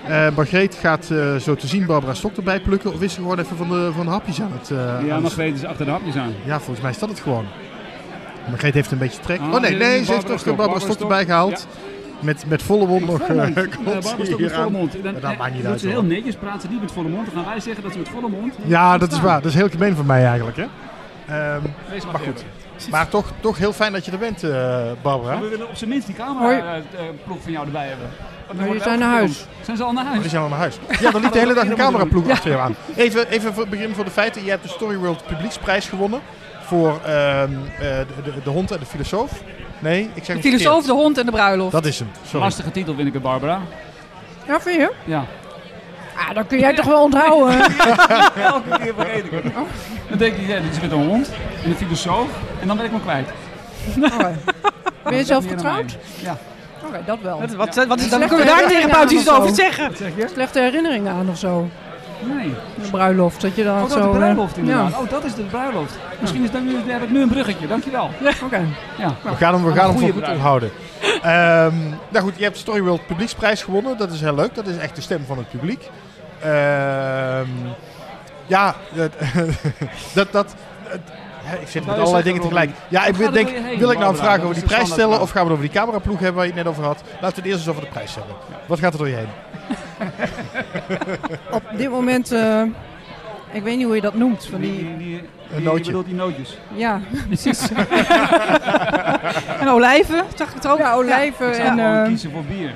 B: Eh Margreet gaat eh, zo te zien Barbara Stok erbij plukken. Of is ze gewoon even van de, van de hapjes aan het. eh,
F: Ja,
B: aan
F: nog
B: het-
F: weten ze achter de hapjes aan.
B: ja, volgens mij is dat het gewoon. Margreet heeft een beetje trek.
F: Ah,
B: Oh nee,
F: dit is
B: nee, ze
F: Barbara
B: heeft toch
F: Stok.
B: Barbara Stok erbij gehaald. Met, met volle mond nog.
F: Volle mond.
B: eh,
F: Eh,
B: komt
F: Barbara Stok
B: hier
F: met volle
B: aan.
F: mond. Dan,
B: Maar dat
F: eh,
B: maakt niet
F: doet
B: uit,
F: Ze heel
B: hoor.
F: netjes praten ze niet met volle mond. Dan gaan wij zeggen dat ze met volle mond.
B: Ja, dat is
F: Ah.
B: waar. Dat is heel gemeen van mij eigenlijk. Hè? Ehm,
F: Wees
B: maar goed. Maar toch, toch heel fijn dat je er bent, eh, Barbara.
F: We willen op zijn minst die
E: Hoi.
F: cameraploeg van jou erbij hebben. Want dan
E: die
F: worden
E: zijn
F: we
E: naar
F: gefilmd. Zijn ze al naar
B: Oh, Die
F: huis?
B: zijn al naar huis. Ja,
F: [laughs]
B: dan liep de hele dag een
F: Iedereen moet
B: cameraploeg achter jou aan. Even, even voor het begin voor de feiten. Je hebt de Story World Publieksprijs gewonnen. Voor ehm, eh, de, de, de hond en de filosoof. Nee, ik zeg
C: [laughs] De
B: het
C: filosoof,
B: verkeerd.
C: de hond en de bruiloft.
B: Dat is hem, sorry.
F: Lastige titel vind ik het, Barbara.
E: Ja, vind je?
B: [laughs]
F: Ja.
E: Ah, dat kun jij toch wel
F: [laughs]
E: onthouden. hè?
F: Elke keer vergeet ik het.
B: Oh.
F: Dan denk ik, ja, dit is met een hond en een filosoof. En dan ben ik me kwijt. Oh,
E: Ben je zelf
F: Niet aan
E: getrouwd?
F: mij. Ja.
E: Oké, dat wel.
C: Dat- Wat, wat, is, dan
E: Slechte
C: kunnen we daar
E: herinneringen
C: therapeutisch iets
E: aan of
C: over
E: zo.
C: zeggen.
F: Wat zeg je?
E: Slechte herinneringen aan of zo.
F: Nee.
E: De bruiloft, dat je dan
F: Oh, dat
E: zo...
F: is de
E: eh,
F: bruiloft
E: ja,
F: inderdaad. Oh, dat is de bruiloft. Misschien is dat nu, heb ik nu een bruggetje. Dankjewel.
E: oké.
F: Ja.
B: We gaan hem, we
F: Een
B: gaan hem
F: goede
B: voor goed
F: bruid.
B: onthouden. Ehm, nou goed, je hebt Story World Publieksprijs gewonnen. Dat is heel leuk. Dat is echt de stem van het publiek. Ehm, ja, dat... [laughs] dat, dat het- hè, ik zit met
F: Nou,
B: allerlei
F: zeg
B: dingen
F: maar,
B: tegelijk. Ja, ik
F: Waar gaan
B: denk,
F: we heen,
B: wil ik nou een
F: Barbara?
B: vraag
F: Dat
B: over
F: is
B: die
F: de
B: prijs stellen
F: standaardvraag.
B: of gaan we het over die cameraploeg hebben waar je het net over had? Laten we het eerst eens over de prijs hebben. Wat gaat er door je heen?
E: [laughs] Op dit moment... eh, ik weet niet hoe je dat noemt. Van
F: Die,
E: die,
F: die, die,
B: Een nootje.
F: Je bedoelt die nootjes.
E: ja, [laughs] precies.
C: En olijven, zag ik het ook.
E: [laughs] Ja, olijven
F: Ik zou
E: en...
F: gewoon
E: eh,
F: kiezen voor bier.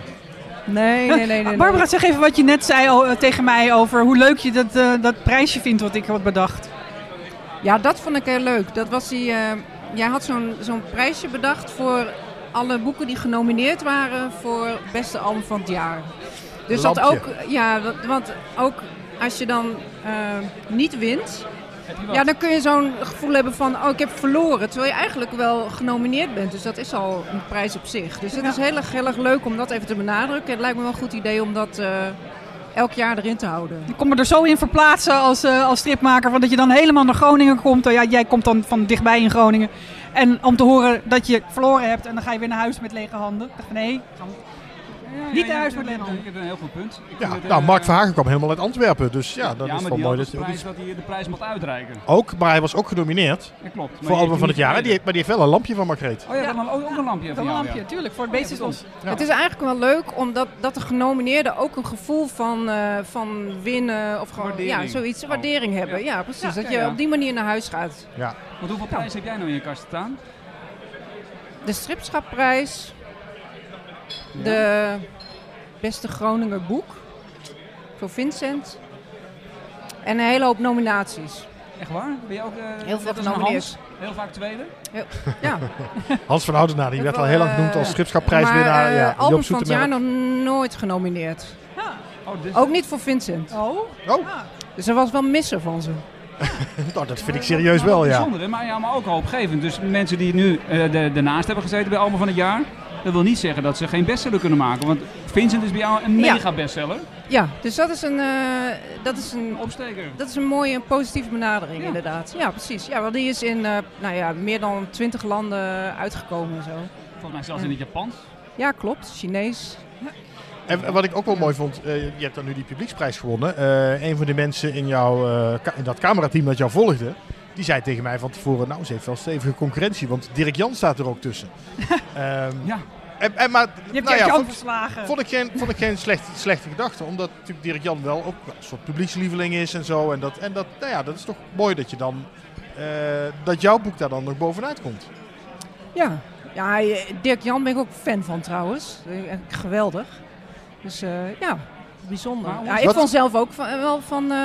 E: nee, nee, nee, nee, nee.
C: Barbara, zeg even wat je net zei al, eh, tegen mij over hoe leuk je dat, eh, dat prijsje vindt wat ik had bedacht.
E: Ja, dat vond ik heel leuk. Dat was die, eh, jij had zo'n zo'n prijsje bedacht voor alle boeken die genomineerd waren voor beste album van het jaar. Dus dat
B: Lampje.
E: ook, ja, dat- want ook als je dan eh, niet wint,
F: Heb je wat?
E: ja, dan kun je zo'n gevoel hebben van, oh, ik heb verloren. Terwijl je eigenlijk wel genomineerd bent. Dus dat is al een prijs op zich. Dus het is heel erg, heel erg leuk om dat even te benadrukken. Het lijkt me wel een goed idee om dat eh, elk jaar erin te houden.
C: Ik kon me er zo in verplaatsen als, eh, als stripmaker, van dat je dan helemaal naar Groningen komt. Oh Ja, jij komt dan van dichtbij in Groningen. En om te horen dat je verloren hebt en dan ga je weer naar huis met lege handen. Ik dacht, nee, dan-
F: Ja,
C: Niet
F: ja,
C: thuis
F: ja,
C: met
F: ja,
C: Lennon.
F: Je hebt een heel goed punt. Ik
B: Ja,
F: vind het,
B: nou,
F: eh,
B: Mark Verhagen kwam helemaal uit Antwerpen. Dus ja,
F: Ja,
B: dan
F: maar
B: is het wel
F: die
B: mooi
F: had
B: dat
F: als
B: hij ook
F: prijs
B: iets-
F: dat hij de prijs mocht uitreiken.
B: Ook, maar hij was ook genomineerd
F: Dat klopt. maar
B: voor
F: die
B: Album
F: heeft
B: van
F: hij
B: het
F: niet
B: jaar. En die
F: gekregen.
B: heeft, maar die heeft wel een lampje van Margreet.
F: Oh ja, dan ook, ook een lampje
C: dat
F: van jou.
C: lampje, tuurlijk, voor het beest is los.
B: Ja.
E: Het is eigenlijk wel leuk omdat dat de genomineerden ook een gevoel van, eh, van winnen of gewoon
F: Waardering.
E: ja, zoiets,
F: Oh.
E: waardering hebben. Ja, precies.
F: Ja,
E: dat
F: ja,
E: je
F: ja.
E: op die manier naar huis gaat.
B: Ja.
F: ja. Want hoeveel prijs heb jij nou in je kast staan?
E: De stripschapprijs, de beste Groninger boek voor Vincent en een hele hoop nominaties.
F: Echt waar? Ben je ook eh,
E: Heel veel
F: net als een
E: genomineerd.
F: Hans? Heel vaak tweede?
E: Ja.
B: Hans van Oudenaar, die
E: Ik
B: werd
E: wil,
B: al heel lang genoemd
E: eh,
B: als schipschapprijswinnaar.
E: maar eh,
B: ja,
E: album
B: Joop
E: van het jaar
B: Zoetemelk.
E: nog nooit genomineerd.
F: Oh, dit
E: Ook niet voor Vincent.
C: Oh,
B: Oh,
E: Dus er was wel missen van ze.
B: [laughs] nou, dat vind ik [laughs] serieus wel, ja.
F: Bijzonder, hè? maar, ja, maar ook hoopgevend. Dus mensen die nu eh de, daarnaast hebben gezeten bij Album van het jaar... dat wil niet zeggen dat ze geen bestseller kunnen maken. Want Vincent is bij jou een
E: Ja.
F: mega bestseller.
E: Ja, dus dat is een, eh, dat is een
F: Een opsteker.
E: Dat is een mooie en positieve benadering,
F: Ja.
E: inderdaad. Ja, precies. Ja, want die is in eh, nou ja, meer dan twintig landen uitgekomen en zo.
F: Volgens mij zelfs in het Japans. Hm.
E: Ja, klopt. Chinees.
B: En en wat ik ook wel mooi vond, eh, je hebt dan nu die publieksprijs gewonnen. Eh, een van de mensen in, jouw, eh, ka- in dat camerateam dat jou volgde, die zei tegen mij van tevoren, nou ze heeft wel stevige concurrentie, want Dirk Jan staat er ook
C: [laughs]
B: tussen. Ehm,
F: Ja.
B: en, en, maar,
C: je hebt
B: nou
C: je
B: ja,
C: ook
B: vond,
C: verslagen.
B: vond ik geen, vond ik geen slechte, slechte gedachte, omdat natuurlijk Dirk Jan wel ook wel een soort publiekslieveling is en zo. En dat, en dat, nou ja, dat is toch mooi dat, je dan, eh, dat jouw boek daar dan nog bovenuit komt.
E: Ja. Ja, eh, Dirk Jan ben ik ook fan van trouwens. Eh, eh, Geweldig. Dus eh, ja, bijzonder.
F: Maar hoe
E: Ja,
F: is
E: ik
B: dat?
E: vond zelf ook van, wel van... eh,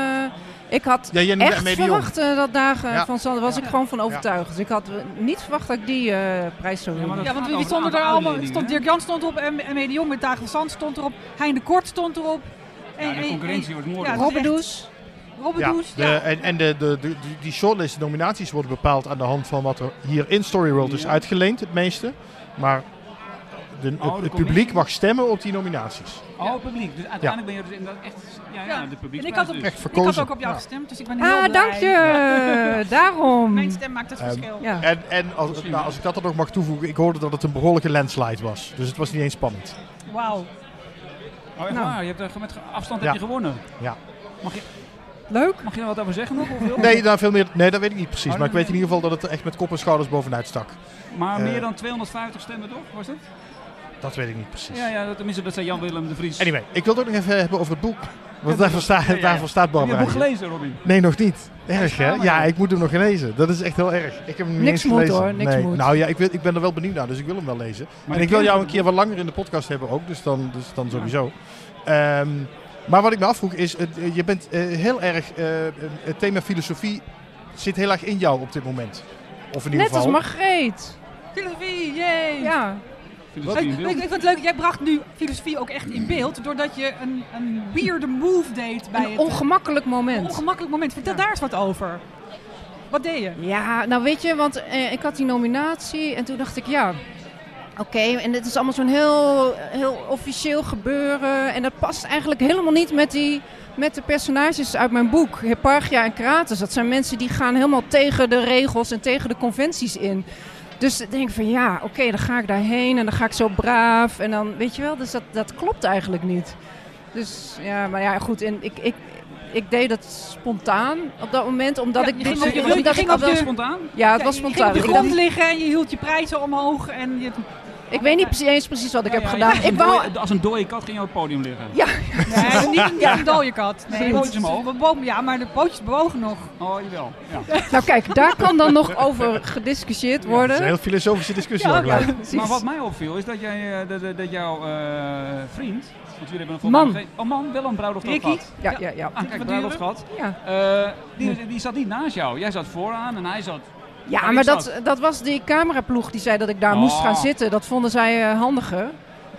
E: Ik had
B: Ja, jij noemde
E: echt
B: Medion.
E: verwacht eh, dat dagen
B: Ja.
E: van Sander was ik gewoon van overtuigd. Dus ik had eh, niet verwacht dat ik die eh, prijs zou winnen.
C: Ja, want
F: gaat
C: wie
F: over een
C: stonden er
F: aantal
C: allemaal?
F: aanleidingen,
C: Stond
F: hè?
C: Dirk Jan stond erop, en en Mede Jong met Dagen van Zand stond erop, Hein de Kort stond erop. En,
F: Ja, de
C: en-
F: concurrentie wordt mooi.
C: Ja,
F: hoor.
C: dat is
E: Robert
C: echt-
E: Does.
C: Robbedoes,
B: de,
C: ja.
B: En, en de, de, de, die- die shortlist de nominaties worden bepaald aan de hand van wat er hier in Story World is
F: Ja. Oh,
B: uitgeleend, het meeste. Maar de,
F: de
B: het, het publiek
F: commissie?
B: mag stemmen op die nominaties.
F: Oh, het publiek. Dus uiteindelijk ben je dus inderdaad echt ja, ja,
C: Ja.
F: de publiek.
C: En ik had, op,
F: dus.
B: Echt
C: ik had
B: verkozen.
C: ook op jou gestemd, dus ik ben heel
E: Ah,
C: blij.
E: dank je. [laughs] Daarom.
C: Mijn stem maakt het
B: Ehm,
C: verschil.
E: Ja.
B: En, en als, nou, als ik dat er nog mag toevoegen, ik hoorde dat het een behoorlijke landslide was. Dus het was niet eens spannend.
C: Wauw.
F: Oh, echt
E: Nou.
F: waar? Je hebt er, met afstand
B: Ja.
F: heb je gewonnen.
B: Ja.
F: Mag je,
E: Leuk.
F: mag je daar wat over zeggen nog? Of
B: [laughs]
F: wil-
B: Nee, nou, veel meer, nee, dat weet ik niet precies.
F: Oh,
B: Maar ik weet
F: nee.
B: in ieder geval dat het echt met kop en schouders bovenuit stak.
F: Maar
B: Eh.
F: meer dan 250 stemmen toch? Was het?
B: Dat weet ik niet precies.
F: Ja, ja dat, tenminste, dat zei Jan-Willem de Vries.
B: Anyway, ik wil het ook nog even hebben over het boek. Want daarvoor, sta,
F: ja, ja.
B: daarvoor staat
F: heb je
B: Barbara.
F: het boek
B: hier.
F: gelezen, Robin?
B: Nee, nog niet. Erg hè?
F: schade.
B: Ja, ik moet hem nog lezen. Dat is echt heel erg. Ik heb hem niet
E: Niks
B: eens
E: moet,
B: gelezen.
E: hoor. Niks
B: nee.
E: moet.
B: Nou ja, ik, wil, ik ben er wel benieuwd naar, dus ik wil hem wel lezen.
F: Maar
B: en
F: de
B: ik wil jou
F: kennis-
B: een keer wat langer in de podcast hebben ook, dus dan, dus dan sowieso. Ehm, maar wat ik me afvroeg is, eh, eh, je bent eh, heel erg, eh, het thema filosofie zit heel erg in jou op dit moment. Of in ieder
E: Net als
B: geval.
E: Margreet.
C: Filosofie, yay!
E: Ja.
F: Filosofie
C: ik,
F: in beeld.
C: ik vind het leuk, jij bracht nu filosofie ook echt in beeld, doordat je een, een weird move deed bij
E: Een
C: het
E: ongemakkelijk
C: een
E: moment.
C: ongemakkelijk moment. Vertel daar eens wat over. Wat deed je?
E: Ja, nou weet je, want eh, ik had die nominatie en toen dacht ik, ja, oké, en dit is allemaal zo'n heel, heel officieel gebeuren. En dat past eigenlijk helemaal niet met, die, met de personages uit mijn boek. Hipparchia en Kratos, dat zijn mensen die gaan helemaal tegen de regels en tegen de conventies in. Dus ik denk van ja, oké, dan ga ik daarheen en dan ga ik zo braaf. En dan, weet je wel, dus dat, dat klopt eigenlijk niet. Dus ja, maar ja, goed, en ik, ik, ik deed dat spontaan op dat moment, omdat
C: Ja,
E: ik
C: je
E: dit...
C: ging op je rug, je
E: omdat ik
C: ging
E: al
C: op
E: wel
C: je-
E: eens
F: Spontaan?
E: ja, het was
C: Ja, je
E: spontaan. Ik
C: ging op de grond
E: dacht-
C: liggen en je hield je prijzen omhoog. En je,
E: ik weet niet precies, eens precies wat ik heb gedaan.
F: Als een,
E: Ik wou...
F: dooie, als een dode kat ging je op het podium liggen.
E: Ja,
C: nee, niet, een- niet een dode kat.
F: De
C: Nee,
F: pootjes
C: dat is-
F: omhoog.
C: de boom- ja, maar de pootjes bewogen nog.
F: Oh, jawel. Ja.
E: nou kijk, daar kan dan nog over gediscussieerd
B: Dat is een
E: worden.
B: heel filosofische [laughs] discussie
C: Ja,
E: [laughs]
B: al gelijk.
E: Precies.
F: Maar wat mij opviel is dat, jij, eh, dat, dat- dat jouw eh, vriend, want jullie hebben een
E: Man.
F: volgende- Oh, man, wel een bruiloft ook
C: Ricky?
F: gehad.
E: Ja, ja, ja.
F: Ah, kijk, bruiloft gehad.
E: Ja,
F: Eh, die, die zat niet naast jou. Jij zat vooraan en hij zat...
E: ja
F: ik
E: maar
F: zat.
E: dat, dat was die cameraploeg die zei dat ik daar moest
F: Oh.
E: gaan zitten. Dat vonden zij eh, handiger.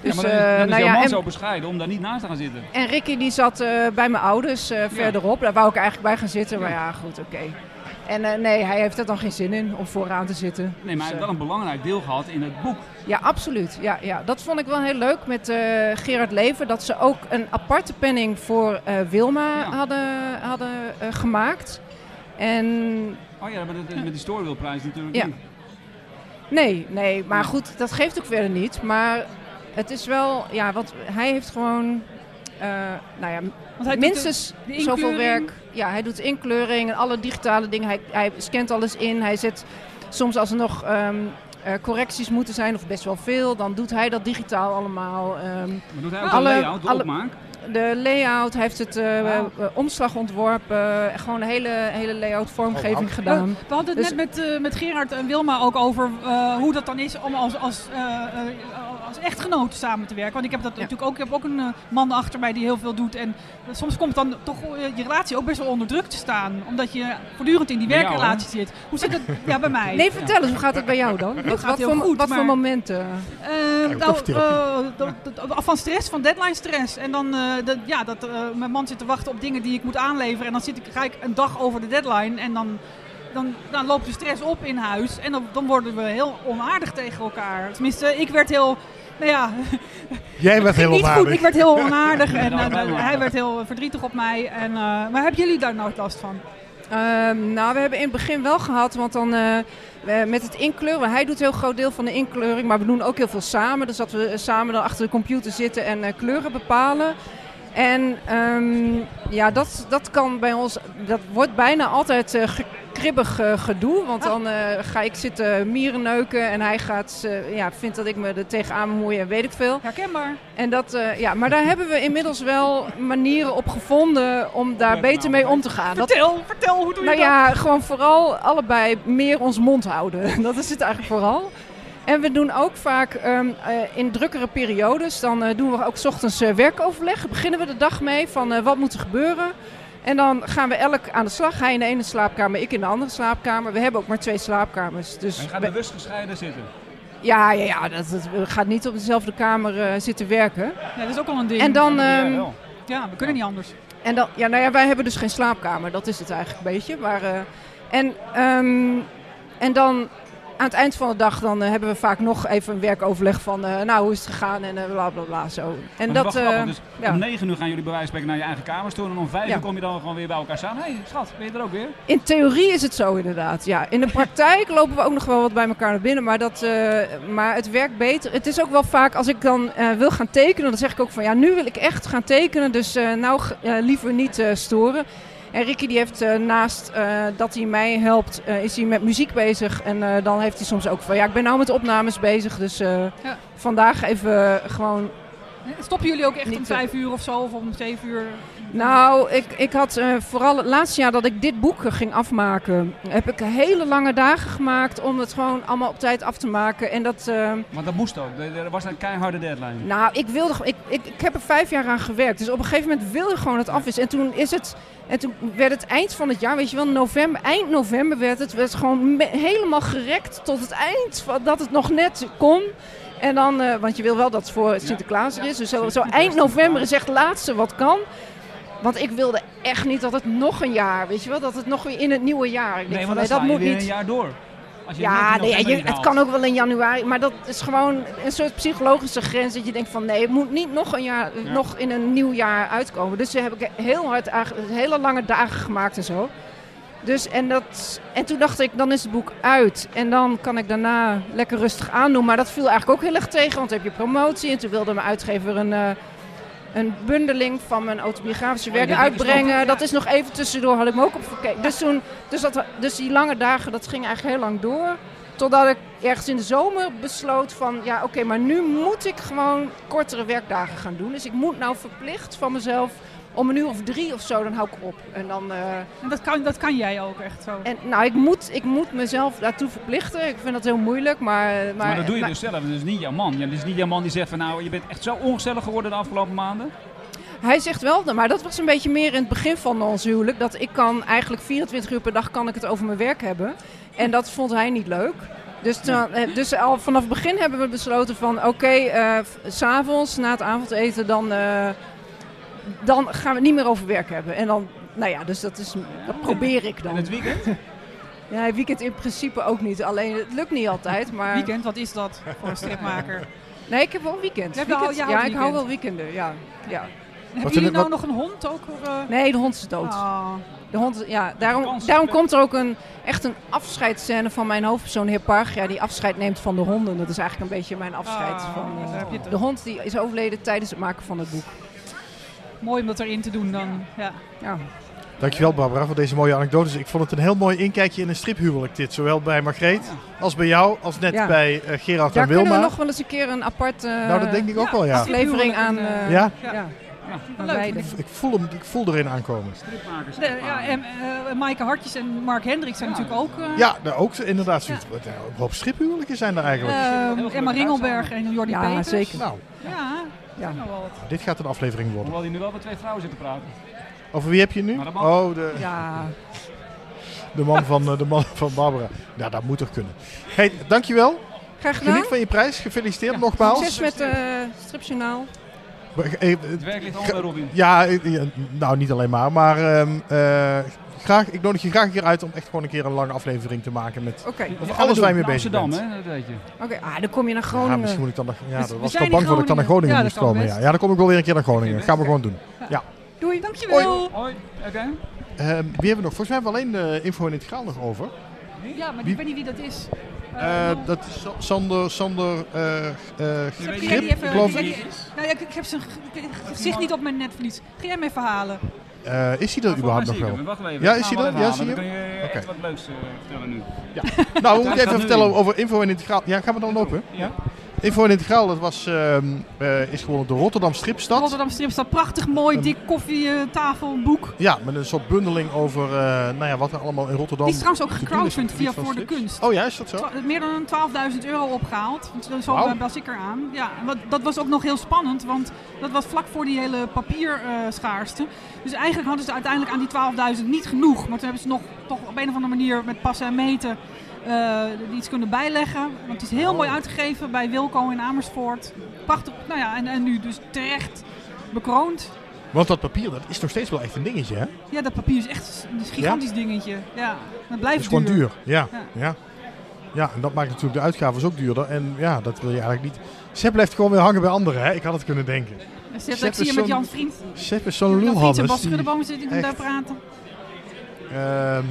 E: Dus,
F: ja, maar
E: eh,
F: dan, dan is
E: nou
F: jouw
E: ja,
F: man
E: en,
F: zo bescheiden om daar niet naast te gaan zitten.
E: en Ricky die zat eh, bij mijn ouders eh, verderop. Daar wou ik eigenlijk bij gaan zitten, maar ja, goed, oké. En eh, nee, hij heeft er dan geen zin in om vooraan te zitten.
F: Nee, maar hij
E: Dus,
F: heeft
E: eh,
F: wel een belangrijk deel gehad in het boek.
E: Ja, absoluut. Ja, ja. Dat vond ik wel heel leuk met eh, Gerard Lever. Dat ze ook een aparte penning voor eh, Wilma
F: Ja.
E: hadden, hadden eh, gemaakt. En
F: Oh ja, maar dat is met die Storywill-prijs natuurlijk
E: Ja.
F: niet.
E: Mm-hmm. nee, nee. Maar goed, dat geeft ook verder niet. Maar het is wel... Ja, want hij heeft gewoon... eh, nou ja,
C: Want hij doet
E: minstens
C: de
E: zoveel
C: inkleuring.
E: werk. Ja, hij doet inkleuring en alle digitale dingen. Hij, hij scant alles in. Hij zet soms als er nog ehm, eh, correcties moeten zijn, of best wel veel, dan doet hij dat digitaal allemaal. Ehm,
F: Maar doet hij ook
E: Alle-
F: de layout, de
E: alle-
F: opmaak?
E: de layout, hij heeft het eh, eh, eh, omslag ontworpen, eh, gewoon een hele, hele layout vormgeving
B: Oh, wauw.
E: gedaan.
C: We hadden het
E: Dus-
C: net met, eh, met Gerard en Wilma ook over eh, hoe dat dan is om als, als, eh, eh, als echtgenoot samen te werken. Want ik heb dat
E: Ja.
C: natuurlijk ook. Ik heb ook een eh, man achter mij die heel veel doet. En soms komt dan toch eh, je relatie ook best wel onder druk te staan. Omdat je voortdurend in die
F: Bij jou,
C: werkrelatie zit. Hoe zit dat ja, bij mij?
E: Nee, vertel eens, hoe gaat het bij jou dan? Wat,
C: gaat
E: wat,
C: heel
E: voor,
C: goed,
E: wat voor
C: maar-
E: momenten?
C: Eh,
B: toch
C: nou,
B: therapie.
C: eh, dat- dat- af van stress, van deadline stress. En dan, eh, dat, ja, dat eh, mijn man zit te wachten op dingen die ik moet aanleveren. En dan zit ik, ga ik een dag over de deadline. En dan, dan, dan loopt de stress op in huis. En dan, dan worden we heel onaardig tegen elkaar. Tenminste, ik werd heel... Nou ja,
B: Jij bent heel
C: niet goed. Ik
B: onaardig.
C: werd heel
B: [laughs]
C: onaardig. En
F: [laughs] Ja, dat
C: eh,
F: wel.
C: hij werd heel verdrietig op mij. En, eh, maar hebben jullie daar nooit last van?
E: Ehm, nou, we hebben in het begin wel gehad, want dan eh, eh, met het inkleuren, hij doet een heel groot deel van de inkleuring, maar we doen ook heel veel samen. Dus dat we eh, samen dan achter de computer zitten en eh, kleuren bepalen. En ehm, ja, dat, dat kan bij ons, dat wordt bijna altijd eh, ge- kribbig eh, gedoe. Want dan eh, ga ik zitten mierenneuken en hij gaat, eh, ja, vindt dat ik me er tegenaan bemoei en weet ik veel.
C: Herkenbaar.
E: En dat, eh, ja, maar daar hebben we inmiddels wel manieren op gevonden om daar beter mee om te gaan. Dat
C: Vertel, vertel, hoe doe je
E: nou
C: dat?
E: ja, gewoon vooral allebei meer ons mond houden. [laughs] Dat is het eigenlijk vooral. En we doen ook vaak ehm, eh, in drukkere periodes, dan eh, doen we ook 's ochtends eh, werkoverleg. Beginnen we de dag mee van eh, wat moet er gebeuren. En dan gaan we elk aan de slag. Hij in de ene slaapkamer, ik in de andere slaapkamer. We hebben ook maar twee slaapkamers. Dus
F: En gaan
E: we-
F: bewust gescheiden zitten.
E: ja, ja, ja dat, dat- we gaan niet op dezelfde kamer eh, zitten werken.
C: Ja, dat is ook al een ding.
E: En dan,
F: Ja,
E: ehm,
F: wel.
C: ja, we kunnen niet anders.
E: En dan, ja, nou ja, wij hebben dus geen slaapkamer, dat is het eigenlijk een beetje. Maar, eh, en, ehm, en dan aan het eind van de dag dan, eh, hebben we vaak nog even een werkoverleg van, eh, nou hoe is het gegaan en eh, bla bla bla zo. En
F: Maar het is wel
E: eh,
F: grappig, dus
E: ja.
F: om 9 uur gaan jullie bij wijze van spreken naar je eigen kamers toe. En om 5
E: Ja.
F: uur kom je dan gewoon weer bij elkaar samen. Hé, hey, schat, ben je er ook weer?
E: in theorie is het zo inderdaad. Ja. In de praktijk [laughs] lopen we ook nog wel wat bij elkaar naar binnen, maar, dat, eh, maar het werkt beter. Het is ook wel vaak als ik dan eh, wil gaan tekenen, dan zeg ik ook van ja, nu wil ik echt gaan tekenen, dus eh, nou g- eh, liever niet eh, storen. En Ricky die heeft eh, naast eh, dat hij mij helpt, eh, is hij met muziek bezig. En eh, dan heeft hij soms ook van ja, ik ben nou met opnames bezig, dus eh,
C: Ja.
E: vandaag even gewoon
C: Stoppen jullie ook echt
E: Niet
C: om
E: te-
C: vijf uur of zo of om zeven uur?
E: Nou, ik, ik had eh, vooral het laatste jaar dat ik dit boek eh, ging afmaken, heb ik hele lange dagen gemaakt om het gewoon allemaal op tijd af te maken. En dat, eh,
F: Want dat moest ook. Er er was een keiharde deadline.
E: nou, ik wilde, gewoon- ik, ik, ik heb er vijf jaar aan gewerkt. Dus op een gegeven moment wilde ik gewoon het af is. En toen is het, en toen werd het eind van het jaar, weet je wel, november, eind november werd het, werd het gewoon me- helemaal gerekt tot het eind, van- dat het nog net kon. En dan, eh, want je wil wel dat het voor Sinterklaas er is. Dus zo, zo eind november is echt het laatste wat kan. Want ik wilde echt niet dat het nog een jaar, weet je wel, dat het nog weer in het nieuwe jaar. Ik denk
F: Nee,
E: van,
F: want dan
E: dat
F: sla je
E: moet
F: weer
E: niet.
F: een jaar door. Als je
E: Ja,
F: net in
E: nee,
F: november
E: je-
F: niet
E: het
F: haalt.
E: kan ook wel in januari. Maar dat is gewoon een soort psychologische grens. Dat je denkt van nee, het moet niet nog, een jaar,
F: Ja.
E: nog in een nieuw jaar uitkomen. Dus daar heb ik heel hard aan- hele lange dagen gemaakt en zo. Dus, en, dat, en toen dacht ik, dan is het boek uit. En dan kan ik daarna lekker rustig aandoen. Maar dat viel eigenlijk ook heel erg tegen, want dan heb je promotie. En toen wilde mijn uitgever een, eh, een bundeling van mijn autobiografische
F: Oh, ja,
E: werken
F: dat is nog-
E: uitbrengen. eh, Dat is nog even tussendoor, had ik me ook op verkeken. Dus, toen, dus, dat, dus die lange dagen, dat ging eigenlijk heel lang door. Totdat ik ergens in de zomer besloot van, ja oké, maar nu moet ik gewoon kortere werkdagen gaan doen. Dus ik moet nou verplicht van mezelf om een uur of drie of zo, dan hou ik op. En dan... eh,
C: En dat kan, dat kan jij ook echt zo.
E: en nou, ik moet, ik moet mezelf daartoe verplichten. Ik vind dat heel moeilijk, maar... eh, Maar,
F: Maar, dat doe je dus zelf. Dat is niet jouw man. Ja, dat is niet jouw man die zegt van nou, je bent echt zo ongezellig geworden de afgelopen maanden.
E: Hij zegt wel, maar dat was een beetje meer in het begin van ons huwelijk. Dat ik kan eigenlijk 24 uur per dag kan ik het over mijn werk hebben. En dat vond hij niet leuk. Dus, toen- eh, dus al vanaf het begin hebben we besloten van... Oké, eh, v- s s'avonds na het avondeten dan, eh, dan gaan we het niet meer over werk hebben. En dan... Nou ja, dus dat, is, dat probeer ik
F: En
E: dan.
F: het weekend?
E: [laughs] Ja, het weekend in principe ook niet. Alleen, het lukt niet altijd, maar...
C: Weekend, wat is dat voor een stripmaker?
E: Nee, ik heb wel weekend.
C: Je hebt wel-
E: Weekend-
C: je
E: ja,
C: houdt
E: ik hou
C: weekend.
E: wel weekenden. Ja. Ja.
B: Wat
C: Hebben jullie
B: vind-
C: nou nog een hond ook? Of, eh?
E: Nee, de hond is dood.
C: Oh.
E: De hond, is- ja, daarom,
F: kans-
E: daarom komt er ook een, echt een afscheidsscène van mijn hoofdpersoon, heer Pargia, die afscheid neemt van de honden. Dat is eigenlijk een beetje mijn afscheid.
C: Ah,
E: van, eh,
C: daar heb je het.
E: de hond die is overleden tijdens het maken van het boek.
C: Mooi om dat erin te doen dan. Ja.
E: Ja.
B: Dankjewel Barbara voor deze mooie anekdotes. Ik vond het een heel mooi inkijkje in een striphuwelijk dit. Zowel bij Margreet als bij jou, als net
E: Ja.
B: bij eh, Gerard
E: Daar kunnen
B: en Wilma.
E: we nog wel eens een keer een apart eh,
B: Nou, dat denk ik ook
C: ja.
B: wel, ja.
C: Als-
E: aflevering aan,
C: Ja.
E: eh,
B: Ja?
E: ja. dus- aan
C: Leuk.
E: beide.
B: Ik voel, hem, ik voel erin aankomen.
F: Stripmakers.
C: De- ja, en eh Maaike Hartjes en Mark Hendricks zijn
F: Ja.
C: natuurlijk ook. eh,
B: Ja, nou, ook inderdaad. zoiets. Nou, Een hoop striphuwelijken zijn er eigenlijk.
E: Eh.
C: ehm,
F: Heel
C: Emma
F: gelukkig
C: Ringelberg en Jordi
E: Ja,
C: Peters.
E: zeker.
B: Nou,
C: Ja,
E: Ja.
C: nou wel wat.
B: dit gaat een aflevering worden.
F: Hoewel die nu wel met twee vrouwen zitten praten.
B: Over wie heb je het nu?
F: Maar dat mag.
B: Oh, de,
E: Ja.
B: de, man van, eh, de man van Barbara. Nou, dat moet toch kunnen. Hey, dankjewel.
E: Graag gedaan.
B: Geniet van je prijs. Gefeliciteerd
E: Succes
B: nogmaals.
E: met eh Stripjournaal.
B: Eh,
F: Het werk ligt allemaal bij Robin.
B: Ja, eh, ja, nou niet alleen maar. Maar ehm, eh, graag, ik nodig je graag een keer uit om echt gewoon een keer een lange aflevering te maken met
E: Oké,
F: Dit
E: oké.
F: gaan we
B: alles
F: doen.
B: waar je mee
F: In
B: bezig
F: Amsterdam,
B: bent.
F: hè, dat weet je.
E: Ah, dan kom je naar
B: Ja,
E: Groningen.
B: misschien moet ik dan nog. Ja,
C: Dus
B: daar
C: we
B: was ik
C: zijn
B: al
C: in
B: bang voor dat ik dan naar Groningen
C: Groningen.
B: moest
C: Ja, dat kan
B: komen. Ja.
C: best.
B: ja, dan kom ik wel weer een keer naar Groningen. Gaan we gewoon doen.
E: Doei.
C: Dankjewel.
F: Hoi, oké.
B: Ehm, wie hebben we nog? Volgens mij hebben we alleen de info in het graal nog over.
C: Ja, maar
B: Wie-
C: ik weet niet wie dat is.
B: Eh,
C: Eh, nou,
B: dat is Sa- Sander, Sander eh eh,
C: Kun jij die
B: Grip,
C: even-
B: geloof
C: kun
B: ik.
C: jij die- Nou ja, ik, ik heb zijn ge- ge- gezicht niet op mijn netvlies. Ga jij hem even halen?
B: Eh, is hij er überhaupt nog wel?
F: Wacht even.
B: Ja, is
F: Gaan
B: hij
F: we
B: er? Ja,
F: wel even halen.
B: zie je
F: Dan kun je echt
B: Oké.
F: wat leuks eh, vertellen nu.
B: Nou, we moeten
F: [laughs] gaat
B: even
F: nu
B: vertellen
F: in.
B: over info in het graal. Ja, gaan we dan lopen?
F: Ja.
B: Info en Integraal, dat was, ehm, eh, is gewonnen door Rotterdam Stripstad.
C: Rotterdam Strip staat prachtig mooi,
B: Een-
C: dik koffietafelboek.
B: Ja, met een soort bundeling over eh, nou ja, wat er allemaal in Rotterdam...
C: Die is trouwens ook
B: te doen op
C: gecrowdfund
B: het
C: via
B: gebied van
C: Voor de
B: strips.
C: Kunst.
B: Oh ja, is dat zo?
C: Twa- Meer dan 12.000 euro opgehaald. Want Zo zo
B: Wauw.
C: was ik eraan. Ja, en wat, dat was ook nog heel spannend, want dat was vlak voor die hele papierschaarste. dus eigenlijk hadden ze uiteindelijk aan die 12.000 niet genoeg. Maar toen hebben ze nog toch op een of andere manier met passen en meten eh, iets kunnen bijleggen. Want het is
B: Oh.
C: heel mooi uitgegeven bij Wilco in Amersfoort. Prachtig, nou ja, en, en nu dus terecht bekroond.
B: Want dat papier, dat is nog steeds wel echt een dingetje, hè?
C: Ja, dat papier is echt een gigantisch dingetje. Ja, het blijft
B: Het is gewoon duur. Ja.
C: Ja.
B: Ja. ja, en dat maakt natuurlijk de uitgaven ook duurder. En ja, dat wil je eigenlijk niet... Sepp blijft gewoon weer hangen bij anderen, hè? Ik had het kunnen denken.
C: Zet,
B: Sepp
C: ik zie
B: is
C: je met
B: zo'n-
C: Jan Vriend.
B: Sepp is
C: Jan
B: zo'n
C: Vriend en Bas
B: lulhannes. die-
C: Schuddeboom zitten die
B: echt-
C: daar praten.
B: Ehm,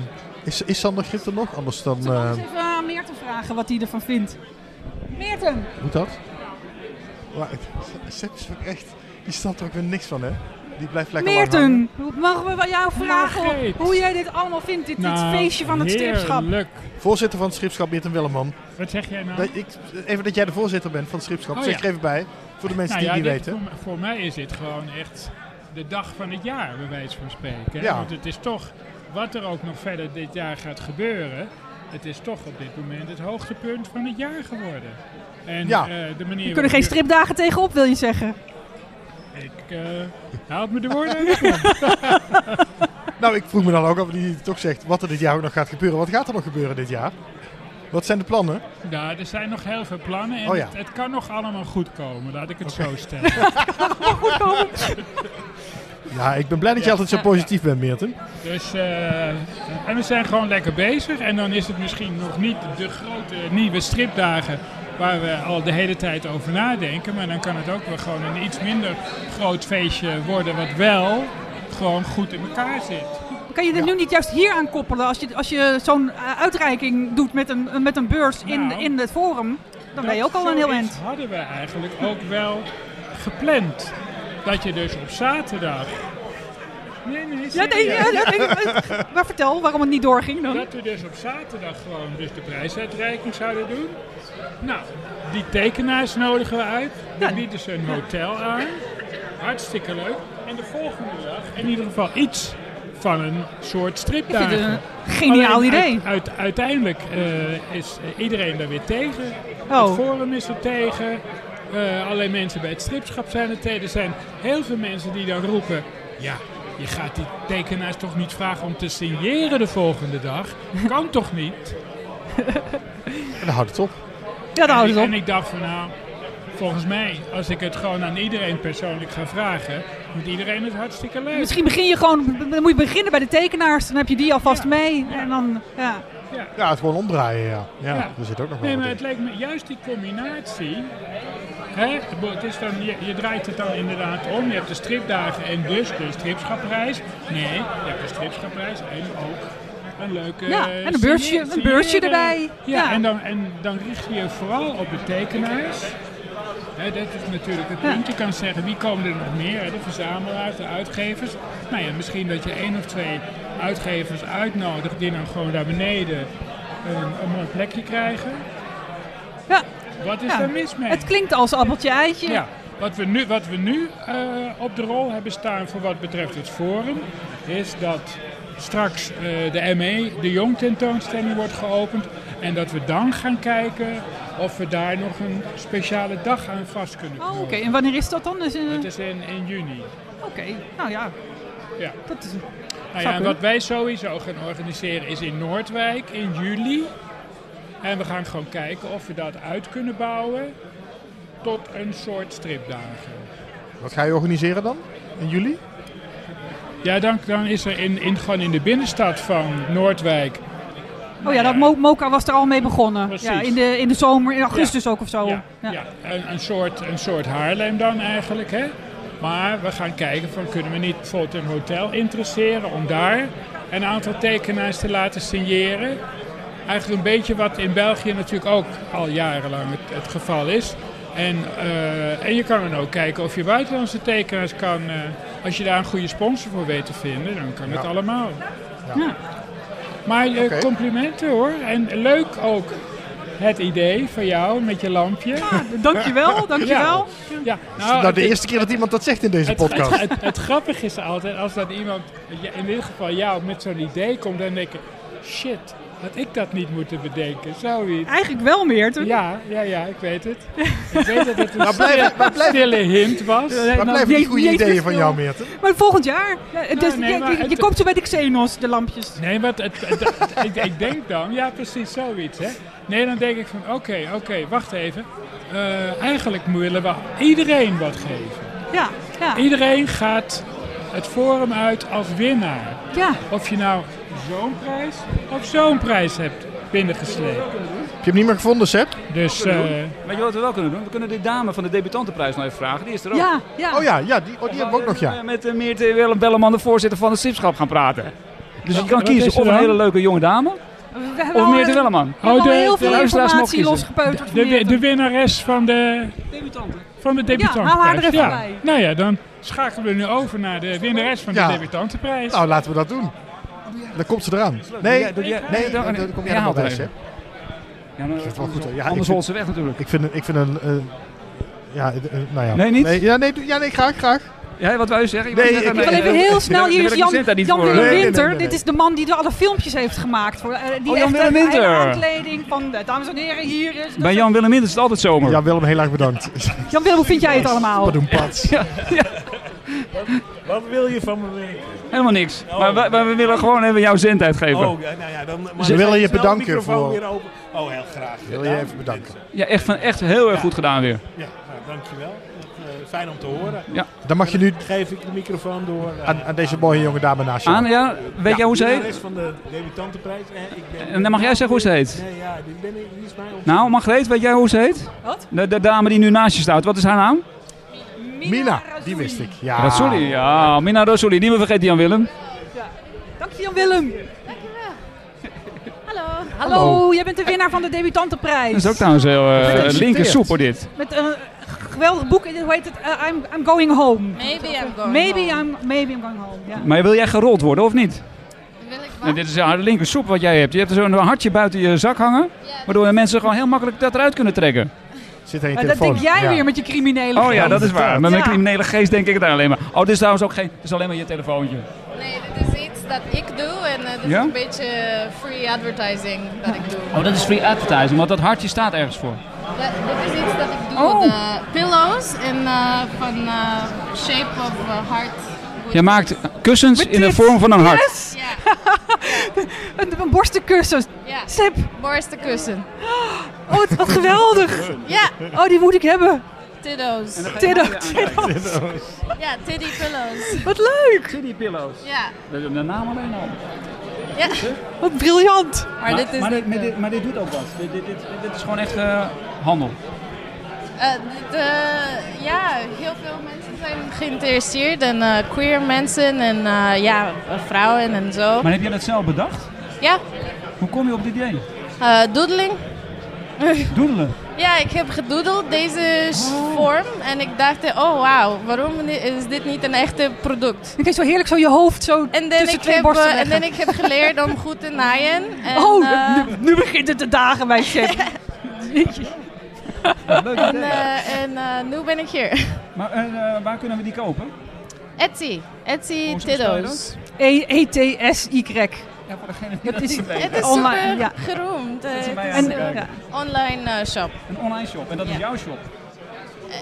B: is, is Sander Grip er nog? Anders dan...
C: Zullen we
B: eh,
C: eens even aan Meerten vragen wat hij ervan vindt? Meerten!
B: Moet dat? Maar Sepp is ook echt... Die snapt er ook weer niks van, hè? Die blijft lekker lang hangen.
C: Meerten! Mogen we wel jou vragen
J: Margreet.
C: hoe jij dit allemaal vindt, dit, dit
J: Nou,
C: feestje van het stripschap?
J: Heerlijk.
B: Voorzitter van het Schipschap, Meerten Willeman.
J: Wat zeg jij nou?
B: Dat ik, even dat jij de voorzitter bent van het Schipschap.
J: Oh,
B: zeg
J: ja.
B: er even bij. Voor de mensen
J: Nou
B: die
J: ja,
B: het niet
J: dit-
B: weten.
J: Voor, voor mij is dit gewoon echt de dag van het jaar, bij wijze van spreken. hè.
B: Ja.
J: Want het is toch, wat er ook nog verder dit jaar gaat gebeuren, het is toch op dit moment het hoogtepunt van het jaar geworden. En
B: Ja.
J: eh, de manier
C: We kunnen geen
J: waarop je-
C: stripdagen tegenop, wil je zeggen?
J: Ik eh, haal me de
C: [laughs]
J: woorden uit mijn mond. [laughs]
B: Nou, ik vroeg me dan ook af, die toch zegt, wat er dit jaar ook nog gaat gebeuren. Wat gaat er nog gebeuren dit jaar? Wat zijn de plannen?
J: Nou, er zijn nog heel veel plannen en
B: Oh ja.
J: het, het kan nog allemaal goed komen, laat ik het zo stellen.
B: [laughs] Ja, ik ben blij dat je altijd zo positief bent, Meerten.
J: Dus, eh, en we zijn gewoon lekker bezig. En dan is het misschien nog niet de grote nieuwe stripdagen waar we al de hele tijd over nadenken. Maar dan kan het ook wel gewoon een iets minder groot feestje worden wat wel gewoon goed in elkaar zit.
C: Kan je er nu niet juist hier aan koppelen als je, als je zo'n eh, uitreiking doet met een, met een beurs in,
J: Nou,
C: in het forum? Dan ben je ook al een heel
J: zoiets
C: eind.
J: hadden we eigenlijk ook wel gepland. Dat je dus op zaterdag... Nee, nee,
C: Ja, nee,
J: serieus.
C: ja, ja, nee, maar vertel waarom het niet doorging dan.
J: Dat we dus op zaterdag gewoon dus de prijsuitreiking zouden doen. Nou, die tekenaars nodigen we uit.
C: Ja.
J: Dan bieden ze een hotel aan. Hartstikke leuk. En de volgende dag in ieder geval iets van een soort
C: Ik vind het
J: stripdagen.
C: een geniaal
J: Alleen
C: idee.
J: uit- uit- uiteindelijk eh, is eh, iedereen daar weer tegen. Het
C: Oh.
J: forum is er tegen. Eh allerlei mensen bij het stripschap zijn er tegen. Er zijn heel veel mensen die dan roepen... Ja, je gaat die tekenaars toch niet vragen om te signeren de volgende dag? Kan [laughs] toch niet?
B: En dan houdt het op.
C: Ja, daar
J: en,
C: houden
J: ik,
C: ze
J: en
C: op.
J: ik dacht van nou... Volgens mij, als ik het gewoon aan iedereen persoonlijk ga vragen... moet iedereen het hartstikke leuk.
C: Misschien begin je gewoon, dan moet je beginnen bij de tekenaars, dan heb je die alvast mee. En dan, ja.
B: Ja, het gewoon omdraaien, ja. Ja,
J: Ja.
B: er zit ook nog wel
J: Nee, maar
B: wat in.
J: het leek me juist die combinatie. Hè? Het is dan, je, je draait het dan inderdaad om. Je hebt de stripdagen en dus de stripschapprijs. Nee, je hebt de stripschapprijs en ook een leuke.
C: Ja,
J: eh,
C: en een beursje-
J: signeer-
C: een beursje
J: signeren.
C: erbij.
J: Ja,
C: Ja.
J: En, dan, en dan richt je je vooral op de tekenaars. Hè, dat is natuurlijk het
C: Ja.
J: punt. Je kan zeggen wie komen er nog meer? Hè? De verzamelaars, de uitgevers. Nou ja, misschien dat je één of twee uitgevers uitnodigt die dan gewoon daar beneden een, een mooi plekje krijgen.
C: ja.
J: Wat is
C: Ja,
J: er mis mee?
C: Het klinkt als appeltje eitje.
J: ja. Wat we nu, wat we nu eh, op de rol hebben staan voor wat betreft het forum, is dat straks eh, de ME, de Jong tentoonstelling, wordt geopend. En dat we dan gaan kijken of we daar nog een speciale dag aan vast kunnen
C: Oh,
J: knopen.
C: oké. En wanneer is dat dan? Dus, eh,
J: Dat is in, in juni.
C: Oké, nou ja.
J: Ja.
C: Dat is,
J: Nou
C: Zou
J: ja, en wat
C: kunnen.
J: wij sowieso gaan organiseren is in Noordwijk in juli. En we gaan gewoon kijken of we dat uit kunnen bouwen tot een soort stripdagen.
B: Wat ga je organiseren dan? In juli?
J: Ja, dan, dan is er in, in, gewoon in de binnenstad van Noordwijk.
C: oh ja, dat Mo- Moka was er al mee begonnen.
J: Precies.
C: Ja, in, de, in de zomer, in augustus ook of zo.
J: ja, ja. een, een, soort, een soort Haarlem dan eigenlijk. Hè? Maar we gaan kijken van kunnen we niet bijvoorbeeld een hotel interesseren om daar een aantal tekenaars te laten signeren. Eigenlijk een beetje wat in België natuurlijk ook al jarenlang het, het geval is. En, eh, en je kan dan ook kijken of je buitenlandse tekenaars kan. eh, als je daar een goede sponsor voor weet te vinden, dan kan het allemaal. Ja. Maar eh,
B: Oké.
J: complimenten hoor. En leuk ook het idee van jou met je lampje.
C: Ah, Dankjewel, dankjewel.
J: [laughs] Ja, ja.
B: nou, de
J: het-
B: eerste keer dat iemand dat zegt in deze
J: het,
B: podcast.
J: Het, het, het grappige is altijd als dat iemand, ja, in dit geval jou, met zo'n idee komt, dan denk ik, shit, had ik dat niet moeten bedenken, zoiets.
C: Eigenlijk wel meer. Toen...
J: Ja, ja, ja, ik weet het. Ik weet dat het een
B: Maar blijf-
J: stille,
B: maar blijf-
J: stille hint was.
C: Eh,
B: Maar
C: nou,
B: blijven die
C: jeet-
B: goede
C: jeet
B: ideeën
C: weer
B: van
C: stil.
B: jou, Meerte.
C: Maar volgend jaar. Ja, het is-
J: nee,
C: je-
J: maar
C: je, je
J: Nou, het-
C: komt zo bij de Xenos, de lampjes.
J: Nee, maar het, het- het- ik, ik denk dan, ja precies, zoiets. Hè? Nee, dan denk ik van, oké, oké, wacht even. Eh, eigenlijk willen we iedereen wat geven.
C: Ja, ja,
J: Iedereen gaat het forum uit als winnaar.
C: ja.
J: Of je nou zo'n prijs of zo'n prijs hebt binnengesleept.
B: Heb je hem niet meer gevonden, Sepp?
J: Dus
F: kunnen
J: eh,
F: doen. Weet je wat we wel kunnen doen? We kunnen de dame van de debutantenprijs nog even vragen. Die is er ook.
C: Ja, ja.
B: Oh ja, ja die, oh, die hebben we ook nog, ja.
F: Eh, Met eh, Meerte Willem Belleman, de voorzitter van het Sipschap, gaan praten. Dus je kan
J: wat is
F: kiezen
J: er
F: of een
J: dan?
F: hele leuke jonge dame,
C: We hebben
F: of
C: al,
F: Meerte
C: eh,
F: Welleman.
C: we
J: Oh,
C: hebben al
J: de-
C: heel
F: de
C: veel
F: luisteraars mogen
C: informatie
F: kiezen.
C: losgepeuterd
J: de,
C: van
J: wi-
C: Meerte.
J: de winnares van de,
F: Debutanten.
J: van de debutantenprijs.
C: Ja, haal haar er even bij.
J: Nou ja, dan schakelen we nu over naar de winnares van
B: Ja.
J: de debutantenprijs.
B: Nou, laten we dat doen. Dan komt ze eraan. Nee,
F: doe jij-
B: nee,
F: doe jij-
B: dan dan kom jij er
F: Ja,
B: wel
F: haal
B: bij,
F: het even.
B: Sepp.
F: Ja, maar,
B: is wel goed, hè. Ja, ik
F: anders
B: vind-
F: rolt ze weg natuurlijk.
B: Ik vind, een- ik vind een... eh, ja, eh, nou ja.
F: Nee, niet?
B: ja, nee, doe- ja, nee, graag, graag.
F: Ja, wat wij
B: Nee,
F: zeggen. wou zeggen,
B: ik-
C: Ik wil even heel snel, hier is Jan, Jan Willem
B: Nee, nee, nee,
C: Winter.
B: nee, nee.
C: Dit is de man die er alle filmpjes heeft gemaakt. Voor, eh, die
F: Oh, Jan
C: echt
F: Willem
C: een hele
F: Winter.
C: aankleding van, eh, dames en heren, hier is...
F: Bij Jan Willem Winter is het altijd zomer.
B: Jan Willem, heel erg bedankt.
C: Jan Willem, hoe vind jij het allemaal?
B: Pardon, Pats.
K: Wat wil je van me weten?
F: Helemaal niks. Maar wij- wij- we willen gewoon even jouw zendtijd geven.
K: Oh, ja, nou ja, dan... Maar
B: Ze
K: dan
B: willen
K: ga ik
B: je
K: snel de
B: bedanken
K: microfoon
B: voor-
K: Weer open. Oh, heel graag.
B: Wil je even bedanken.
F: Ja, echt, van, echt heel erg goed gedaan weer.
K: Ja, nou, dankjewel. Dat, eh, fijn om te horen.
B: Dan mag je nu
K: Geef ik de microfoon door eh,
B: aan, aan deze mooie jonge dame naast je.
F: Aan, ja, weet jij hoe ze
K: de
F: heet?
K: rest van de debutantenprijs. Eh, ik ben,
F: En dan mag jij zeggen hoe ze heet.
K: Nee, ja, dit ben ik. Dit is mij op.
F: Nou, Margreet, weet jij hoe ze heet?
C: Wat?
F: De, de dame die nu naast je staat, wat is haar naam?
B: Mina, die wist ik. Ja.
F: Rasuli, ja, Mina Rasuli. Niet meer vergeten, Jan Willem.
C: Dank je, Jan Willem.
L: Hallo.
C: Hallo, jij bent de winnaar van de debutantenprijs.
F: Dat is ook trouwens heel eh,
B: Gefeliciteerd.
F: linker soep hoor dit.
C: Met een geweldig boek, en hoe heet het? Eh, I'm, I'm Going Home.
L: Maybe I'm going
C: Maybe
L: home.
C: I'm, maybe I'm going home. Ja.
F: Maar wil jij gerold worden of niet?
L: Wil ik
F: En
L: wat?
F: dit is ja, de linker soep wat jij hebt. Je hebt er zo'n hartje buiten je zak hangen,
L: Ja,
F: waardoor de mensen gewoon heel makkelijk dat eruit kunnen trekken.
B: Zit aan je
C: Maar dat
B: telefoon.
C: denk jij
B: Ja.
C: weer met je criminele
F: Oh ja,
C: geest.
F: dat is waar. Met mijn
C: Ja.
F: criminele geest denk ik het alleen maar. Oh, dit is trouwens ook geen... Het is alleen maar je telefoontje.
L: nee, dit is iets dat ik doe en eh, dit
F: Ja?
L: is een beetje eh, free advertising dat ik doe.
F: Oh, dat is free advertising, want dat hartje staat ergens voor.
L: Dat- dit is iets dat ik doe.
F: Oh.
L: De pillows en eh, van eh, shape of eh, heart.
F: Je maakt kussens
C: Met
F: in de
C: dit.
F: vorm van een hart.
C: Yes!
L: Ja,
C: Een, een borstenkussen.
L: ja.
C: Sip.
L: Borstenkussen.
C: Oh, wat- wat geweldig.
L: Ja,
C: Oh, die moet ik hebben.
L: Tiddo's.
C: Tiddo.
L: Ja, teddy pillows.
C: Wat leuk.
F: City pillows.
L: Ja,
F: De naam alleen al.
L: ja.
C: Wat briljant.
L: Maar dit is niet, eh,
F: maar dit doet ook wat. Dit, dit, dit, dit is gewoon echt eh, handel.
L: Eh, dit, eh, ja, heel veel mensen zijn geïnteresseerd en eh, queer mensen en eh, ja, vrouwen en zo.
F: Maar heb jij dat zelf bedacht?
L: Ja,
F: Hoe kom je op
L: [laughs]
F: dit idee?
L: eh, doodling.
F: Doedelen.
L: Ja, ik heb gedoodeld deze s- vorm en ik dacht, oh wauw, waarom ni- is dit niet een echte product?
C: Dan kun je zo heerlijk zo je hoofd zo
L: En dan,
C: tussen
L: ik
C: twee
L: heb,
C: borsten
L: eh, en
C: leggen.
L: dan ik heb geleerd om goed te
C: [laughs]
L: naaien. En,
C: Oh,
L: eh,
C: nu, nu begint het te dagen
L: [laughs]
C: bij Sip.
F: Leuk
L: en, eh, en eh, nu ben ik hier. [laughs]
F: Maar eh, eh, waar kunnen we die kopen?
L: Etsy. Etsy
F: Hoe spel je
L: Tiddo's.
C: E- E-T-S-Y.
F: Ja, voor degene die
C: Dat
F: dat
C: is-
F: niet
L: Het
F: weten.
L: is
C: Online,
L: super
C: ja.
L: geroemd. eh,
F: is
L: het
F: mij
L: is
F: aan
C: En,
F: het
L: een
F: kijken.
C: ja.
L: online eh, shop.
F: Een online shop. En dat is
L: Ja.
F: jouw shop.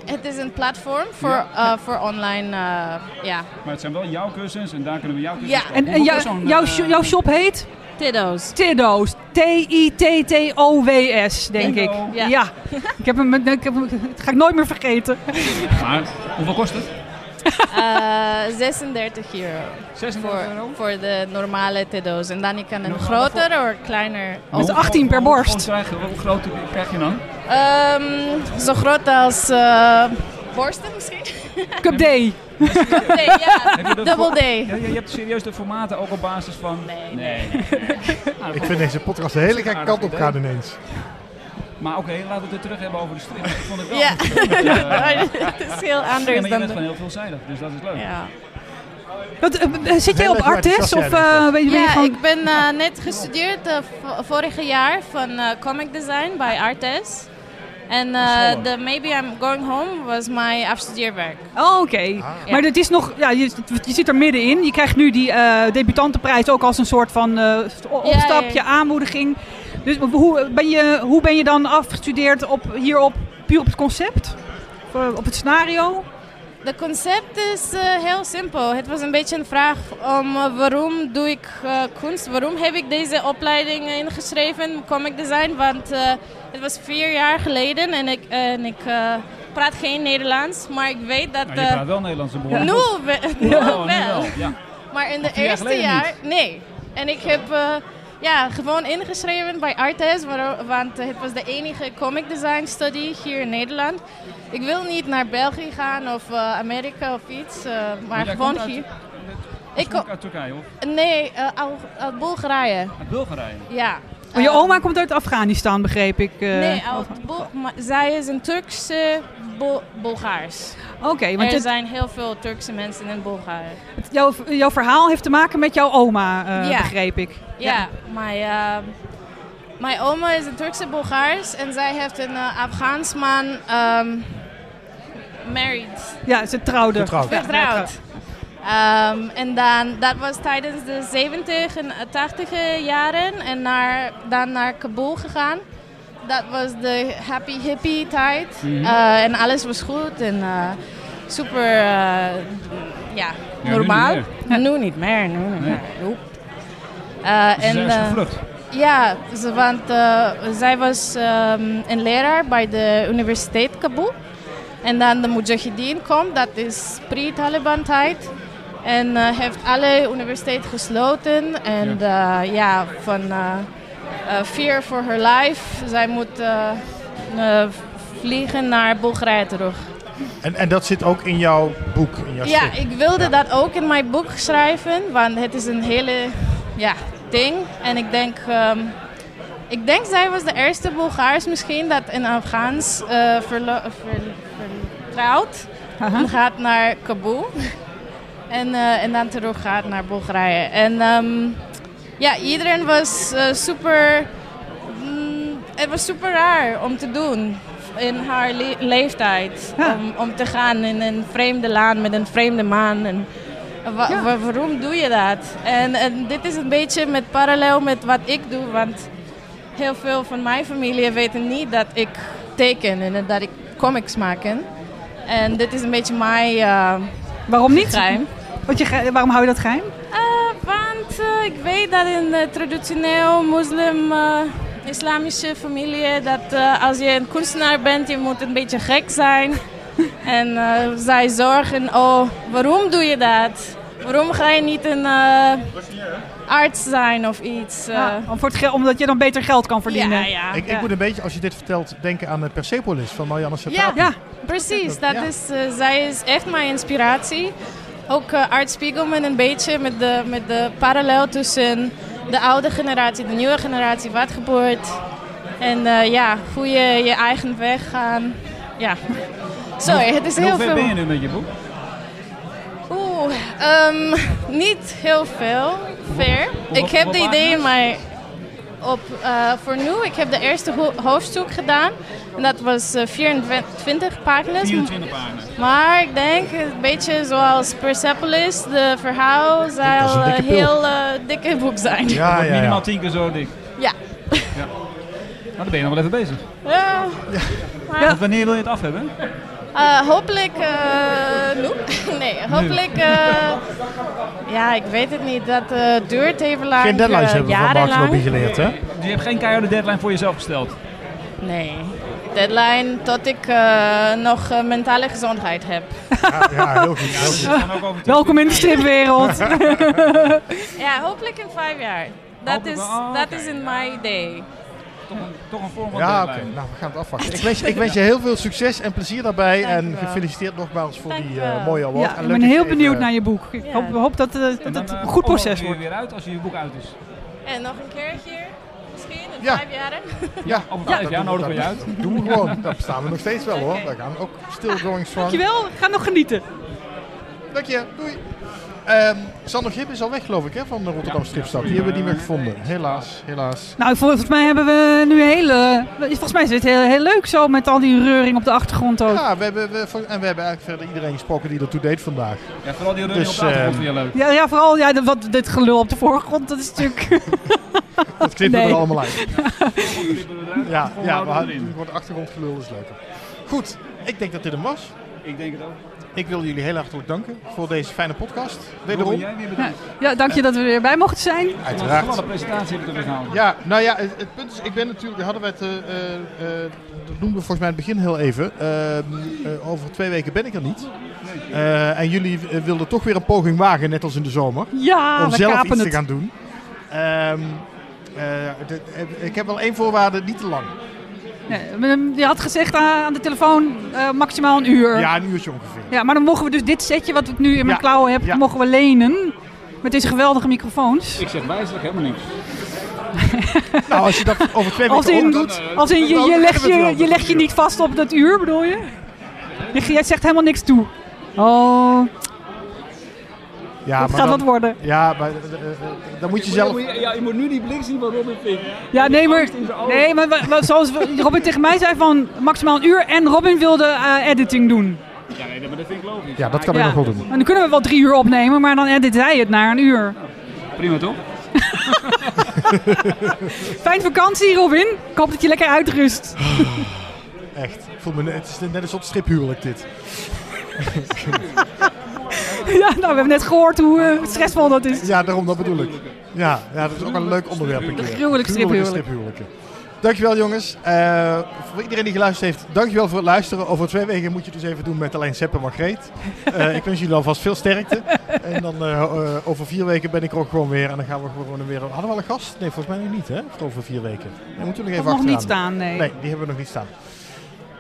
L: Eh, Het is een platform voor,
F: Ja.
L: eh, voor online, eh, ja,
F: Maar het zijn wel jouw kussens en daar kunnen we jouw kussens
L: Ja.
F: kopen.
C: En, en
F: Hoeveel
C: jou-
F: is zo'n,
C: jouw,
F: eh,
C: sho- jouw shop heet
L: Tiddo's.
C: Tiddo's. T-I-T-T-O-W-S, denk ik.
F: Tiddo.
C: Ja. ik heb hem, ik heb hem, dat ga ik nooit meer vergeten.
F: Maar hoeveel kost het?
L: Eh, 36 euro
F: 36 euro.
L: voor, voor de normale Tiddo's. En dan je kan een
F: Normale
L: groter of kleiner.
C: Dat is
F: Hoe-
C: 18 per
F: hoe-
C: borst.
F: Hoe, krijg je- hoe groot krijg je dan?
L: [laughs] Ehm, zo groot als eh, borsten misschien?
C: [laughs] Cup D.
L: nee,
C: [laughs]
L: ja.
F: Heb je de
L: Double
F: voor-
L: D.
F: Ja, ja, je hebt serieus de formaten ook op basis van... Nou,
L: Nee, [laughs]
B: Ik vind deze podcast een hele gekke kant op gaan ineens.
F: Maar oké, laten we het weer terug hebben over de strip. Ik vond het wel
L: Ja, [laughs]
F: een verschil met, eh,
L: het is heel
F: Nee, maar
L: anders
F: je
L: dan...
F: bent
L: de-
F: gewoon heel veelzijdig, dus dat is leuk.
L: Ja.
C: Wat, eh, eh, zit jij
L: Heel
C: op
L: erg
C: Artis?
L: enthousiast
C: Of
L: jij
C: eh, ben je ben je
L: ja,
C: gewoon...
L: ik ben eh, net gestudeerd eh, v- vorig jaar van eh, comic design bij Artes. En eh,
C: Zo.
L: de Maybe I'm Going Home was mijn afstudeerwerk.
C: Oh, oké. Maar dat is nog, ja, je, je zit er middenin. Je krijgt nu die eh, debutantenprijs ook als een soort van eh, o-
L: ja,
C: opstapje,
L: ja.
C: aanmoediging. Dus hoe ben je, hoe ben je dan afgestudeerd op, hierop, puur op het concept? Op, eh, op het scenario?
L: De concept is eh, heel simpel. Het was een beetje een vraag om eh, waarom doe ik eh, kunst? Waarom heb ik deze opleiding ingeschreven, comic design? Want eh, het was vier jaar geleden en ik, en ik eh, praat geen Nederlands, maar ik weet dat...
F: Nou, je
L: eh,
F: praat wel Nederlands en behoorlijk
L: Nu,
F: goed.
L: we-
C: [laughs]
L: nu
F: Ja,
L: wel.
F: nu wel, ja.
L: Maar in
F: Maar
L: de
F: vier jaar
L: eerste
F: geleden
L: jaar,
F: niet.
L: nee. En ik heb eh, ja, gewoon ingeschreven bij Artes, waar- want het was de enige comic design studie hier in Nederland. Ik wil niet naar België gaan of eh, Amerika of iets, eh, maar
F: jij
L: gewoon
F: komt uit-
L: hier.
F: Ik kom uit Turkije of
L: Nee, eh, al, al Bulgarije.
F: uit Bulgarije.
L: Ja.
C: Maar je oma komt uit Afghanistan, begreep ik. eh.
L: Eh. nee, oh. al, Bul- maar zij is een Turkse Bul- Bulgaars.
C: Oké, want
L: er
C: het-
L: zijn heel veel Turkse mensen in Bulgarije.
C: jouw, jouw verhaal heeft te maken met jouw oma, eh,
L: Ja.
C: begreep ik.
L: Ja, mijn, eh, mijn oma is een Turkse Bulgaars en zij heeft een eh, Afghaans man ehm, married.
C: Ja, ze trouwde.
L: Getrouwd.
C: Ja,
L: Getrouwd. Ehm, en dan, dat was tijdens de 70 en 80 jaren en naar, dan naar Kabul gegaan. Dat was de happy hippie tijd
F: Mhm.
L: Eh, en alles was goed en eh, super eh, ja,
F: nu
L: normaal.
F: niet
L: Maar nu niet meer. Nu niet
F: Nee.
L: meer. Oep. Eh,
F: Dus ze zijn
L: en,
F: dus
L: eh,
F: gevlucht?
L: ja, ze- want eh, zij was ehm, een leraar bij de Universiteit Kabul. En dan de Mujahideen komt, dat is pre-Taliban tijd. En eh, heeft alle universiteit gesloten. En ja, ja van eh, eh, Fear for Her Life, zij moet eh, eh, vliegen naar Bulgarije terug.
B: En, en dat zit ook in jouw boek, in jouw
L: Ja,
B: strip.
L: ik wilde dat ook in mijn boek schrijven, want het is een hele ja, ding. En ik denk, ehm, ik denk zij was de eerste Bulgaars misschien dat in Afghaans eh, verlo- ver- vertrouwd en gaat naar Kabul. En, eh, en dan terug gaat naar Bulgarije. En ehm, ja, iedereen was eh, super. mm, het was super raar om te doen in haar le- leeftijd. Om, om te gaan in een vreemde land met een vreemde man. En wa- wa- waarom doe je dat? En, en dit is een beetje met parallel met wat ik doe. Want heel veel van mijn familie weten niet dat ik teken en dat ik comics maak. En dit is een beetje eh, mijn.
C: waarom niet?
L: Geheim.
C: Want je, ge- waarom hou je dat geheim?
L: Want eh, ik weet dat in de traditioneel moslim eh, islamische familie dat eh, als je een kunstenaar bent, je moet een beetje gek
C: [laughs]
L: zijn. en eh, zij zorgen, oh, waarom doe je dat? Waarom ga je niet een eh, arts zijn of iets? eh?
C: Ja, Ah, om voor het gel- omdat je dan beter geld kan verdienen.
L: Ja, ja.
B: Ik, ik moet een beetje, als je dit vertelt, denken aan eh, Persepolis van Marianne
L: Ja,
B: Satrapi.
L: ja, precies. Dat
B: Ja.
L: is, eh, zij is echt mijn inspiratie. Ook eh, Art Spiegelman een beetje met de, met de parallel tussen de oude generatie, de nieuwe generatie, wat gebeurt. En eh, ja, hoe je je eigen weg gaan. Ja. [laughs] Sorry, het is
F: En
L: heel
F: Hoe ver ben je
L: veel.
F: nu met je boek?
L: Oeh, ehm, niet heel veel. Ver. Ik heb de
F: hoeveel
L: idee in
F: pagina's?
L: mijn. Op, eh, voor nu, ik heb de eerste ho- hoofdstuk gedaan. En dat was eh, 24 pagina's.
F: 24 pagina's.
L: Maar ik denk een beetje zoals Persepolis, de verhaal zal
F: Dat is een
L: een
F: dikke pil.
L: heel eh, dikke boek zijn.
F: Dat wordt Minimaal 10 keer zo dik.
L: Ja.
F: Nou, dan ben je nog wel even bezig.
L: Ja. Maar,
F: Want wanneer wil je het af hebben?
L: eh, hopelijk. eh, nu? [laughs] nee, hopelijk. eh, ja, ik weet het niet. Dat eh, duurt even lang.
B: Geen deadlines
L: eh,
B: hebben we van
L: jarenlang.
B: Mark Lobby geleerd, hè?
F: Dus je hebt geen keiharde deadline voor jezelf gesteld.
L: Nee. Deadline tot ik eh, nog eh, mentale gezondheid heb. [laughs]
B: Ja, heel goed.
C: [laughs]
B: Heel goed.
C: Welkom in de stripwereld.
B: [laughs]
L: ja, hopelijk in vijf jaar. Dat is, dat is in mijn idee.
F: oh, Toch een vorm van
B: Ja, oké.
F: deadline.
B: Nou, we gaan het afwachten.
F: [laughs]
B: Ik wens, je- ik wens je heel veel succes en plezier daarbij.
C: Dank je
B: en
C: wel.
B: gefeliciteerd nogmaals voor die eh, mooie award.
C: Ja,
B: En
C: ik
B: leuk
C: ben
B: dat je
C: heel
B: even- eh,
F: eh,
C: benieuwd naar je boek. Ik hoop, hoop dat, eh, dat het een goed proces wordt.
F: weer uit als je je boek uit is.
L: En nog een keertje, misschien in
B: Ja.
L: vijf jaren. [laughs]
B: Ja,
F: over
B: ja,
F: vijf
B: dat
F: jaar
B: doen we-
F: nodigen we
B: dat-
F: je uit.
B: Doen we gewoon. Daar staan we nog steeds wel hoor. We gaan ook still going strong.
C: Dankjewel, ga nog genieten.
B: Dank je. Doei. ehm Sander Gip is al weg, geloof ik, hè, van de Rotterdam Stripstad. Die hebben we niet meer gevonden. Helaas, helaas.
C: Nou, volgens mij hebben we nu hele... Volgens mij is het heel, heel leuk zo met al die reuring op de achtergrond ook.
B: Ja, we hebben, we, voor- en we hebben eigenlijk verder iedereen gesproken die ertoe deed vandaag.
F: Ja, vooral die reuring
B: dus,
F: op de achtergrond
B: ehm,
F: vind je leuk.
C: Ja, ja vooral ja, de- wat, dit gelul op de voorgrond, dat is natuurlijk...
B: [laughs] Dat knippen
C: Nee.
B: we er allemaal
C: [laughs]
B: uit. ja,
C: Gewoon
B: ja
C: houden
B: we
C: we
B: houden
C: erin.
B: voor de achtergrondgelul is leuker. Goed, ik denk dat dit hem was.
F: Ik denk het ook.
B: Ik wil jullie heel hartelijk danken voor deze fijne podcast.
F: Roel,
B: Wederom.
F: jij weer
C: Ja, ja, dank je dat we er weer bij mochten zijn.
B: Uiteraard.
F: Wat een presentatie heb ik er gehouden.
B: Ja, nou ja, het, het punt is, ik ben natuurlijk, hadden we het, eh, eh, eh, dat noemden we volgens mij in het begin heel even. Ehm, eh, over twee weken ben ik er niet. Eh, en jullie eh, wilden toch weer een poging wagen, net als in de zomer.
C: Ja,
B: om
C: we
B: zelf
C: kapen
B: iets te
C: het.
B: gaan doen. Ehm, eh, de- eh, ik heb wel één voorwaarde, niet te lang.
C: Nee, Je had gezegd aan aan de telefoon eh, maximaal een uur.
B: Ja, een uurtje ongeveer.
C: Ja, maar dan mogen we dus dit setje wat ik nu in mijn
B: Ja,
C: klauwen heb, mogen we lenen. Met deze geweldige microfoons.
F: Ik zeg wijzelijk helemaal niks.
B: [laughs] Nou, als je dat over twee
C: Als
B: weken
C: in,
B: ook doet...
C: als in je,
B: dan
C: je, legt
B: hebben we het
C: je,
B: wel.
C: je legt je niet vast op dat uur, bedoel je? Je- Jij zegt helemaal niks toe. Oh,
B: Ja,
C: het
B: maar
C: gaat
B: dan-
C: wat worden.
B: Ja, maar eh, eh, eh, dan moet je zelf...
F: Ja, je moet nu die blik zien waarom ik vind.
C: Ja, nee, maar,
F: in zijn ogen.
C: nee, maar we- we- zoals we- Robin tegen mij zei van maximaal een uur. En Robin wilde eh, editing doen.
F: Ja, nee, maar dat vind ik logisch.
B: Ja, dat kan ik
C: Ja.
B: nog wel doen.
C: En dan kunnen we wel drie uur opnemen, maar dan edit hij het naar een uur.
F: Prima toch?
B: Eh,
C: [laughs] Fijn vakantie, Robin. Ik hoop dat je lekker uitrust.
B: Oh, Echt. Ik voel me, net- het is net als op striphuwelijk dit.
C: [laughs] ja, nou, we hebben net gehoord hoe eh, stressvol dat is.
B: Ja, daarom dat bedoel ik. Ja, ja dat is ook een leuk onderwerp. een keer.
C: De gruwelijke striphuwelijk.
B: Gruwelijke striphuwelijken. Dankjewel jongens. Eh, voor iedereen die geluisterd heeft, dankjewel voor het luisteren. Over twee weken moet je het dus even doen met alleen Sepp en
C: [laughs]
B: Margreet. Eh, ik wens jullie alvast veel sterkte. En dan eh, eh, over vier weken ben ik er ook gewoon weer. En dan gaan we gewoon weer... Hadden we al een gast? Nee, volgens mij nog niet hè? Voor over vier weken. Nee, moeten we nog even
C: Of nog
B: achteraan.
C: niet staan, nee.
B: Nee, die hebben we nog niet staan.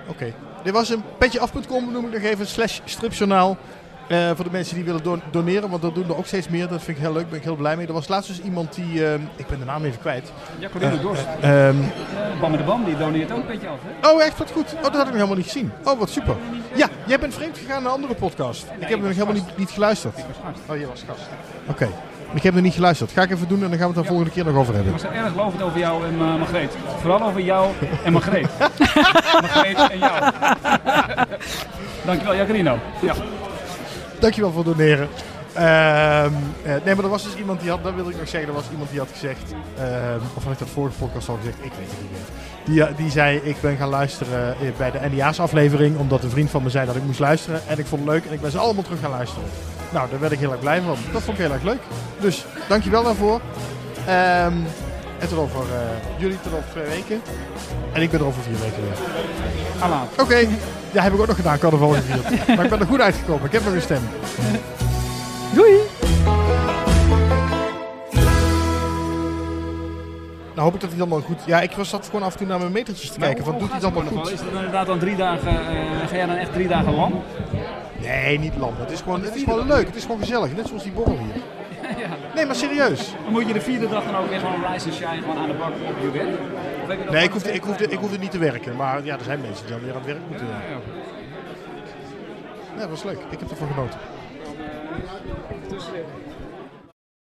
B: Oké. Dit was een petjeaf.com, noem ik nog even, slash stripjournaal. Eh, voor de mensen die willen don- doneren, want dat doen er ook steeds meer. Dat vind ik heel leuk, ben ik heel blij mee. Er was laatst dus iemand die, ehm, ik ben de naam even kwijt.
F: Ja, Corine
B: Eh,
F: Dorst.
B: eh, ehm,
F: Eh, Bam met de Bam, die doneert ook een beetje af, hè?
B: oh echt, wat goed. Oh, dat had ik nog helemaal niet gezien. Oh, wat super. Ja, jij bent vreemd gegaan naar een andere podcast. ik heb nog helemaal niet, niet geluisterd.
F: Oh, je was gast.
B: Oké, ik heb nog niet geluisterd. Ga ik even doen en dan gaan we het de volgende keer nog over hebben.
F: Ik was erg lovend over jou en eh Margreet. Vooral over jou en
B: [laughs]
F: Margreet. Margreet en jou. [laughs] Dankjewel, Jacarino. Ja.
B: Dankjewel voor het doneren. Ehm, eh, nee, maar er was dus iemand die had, dat wilde ik nog zeggen, er was iemand die had gezegd, ehm, of had ik dat vorige podcast al gezegd, ik weet het niet meer. Die, eh, die zei, ik ben gaan luisteren eh, bij de NDA's aflevering, omdat een vriend van me zei dat ik moest luisteren. En ik vond het leuk en ik ben ze allemaal terug gaan luisteren. Nou, daar werd ik heel erg blij van. Dat vond ik heel erg leuk. Dus, dankjewel daarvoor. Ehm, en tot over eh, jullie, tot over twee weken. En ik ben er over vier weken weer.
F: Alla.
B: Oké, ja, heb ik ook nog gedaan, carnaval gevierd. maar ik ben er goed uitgekomen, ik heb nog een stem.
C: Doei!
B: Nou hoop ik dat hij dan wel goed... Ja, ik was zat gewoon af en toe naar mijn metertjes te kijken.
F: Maar
B: Van,
F: hoe-
B: doet hij
F: hoe
B: dan
F: gaat
B: wel
F: het
B: goed?
F: carnaval? Is dat inderdaad dan drie dagen, eh, ga jij dan echt drie dagen lang?
B: Nee, niet lam. Het is gewoon, het is gewoon leuk. Het is gewoon gezellig. Net zoals die borrel hier. Nee, maar serieus.
F: Dan moet je de vierde dag dan ook weer gewoon rise and shine gewoon aan de bak op je werk? Of heb je nog-
B: Nee, ik hoefde, ik, hoefde, ik hoefde niet te werken. Maar ja, er zijn mensen die dan weer aan het werk moeten.
F: Ja, ja.
B: Nee, dat was leuk. Ik heb ervan genoten.
F: Tussendoor.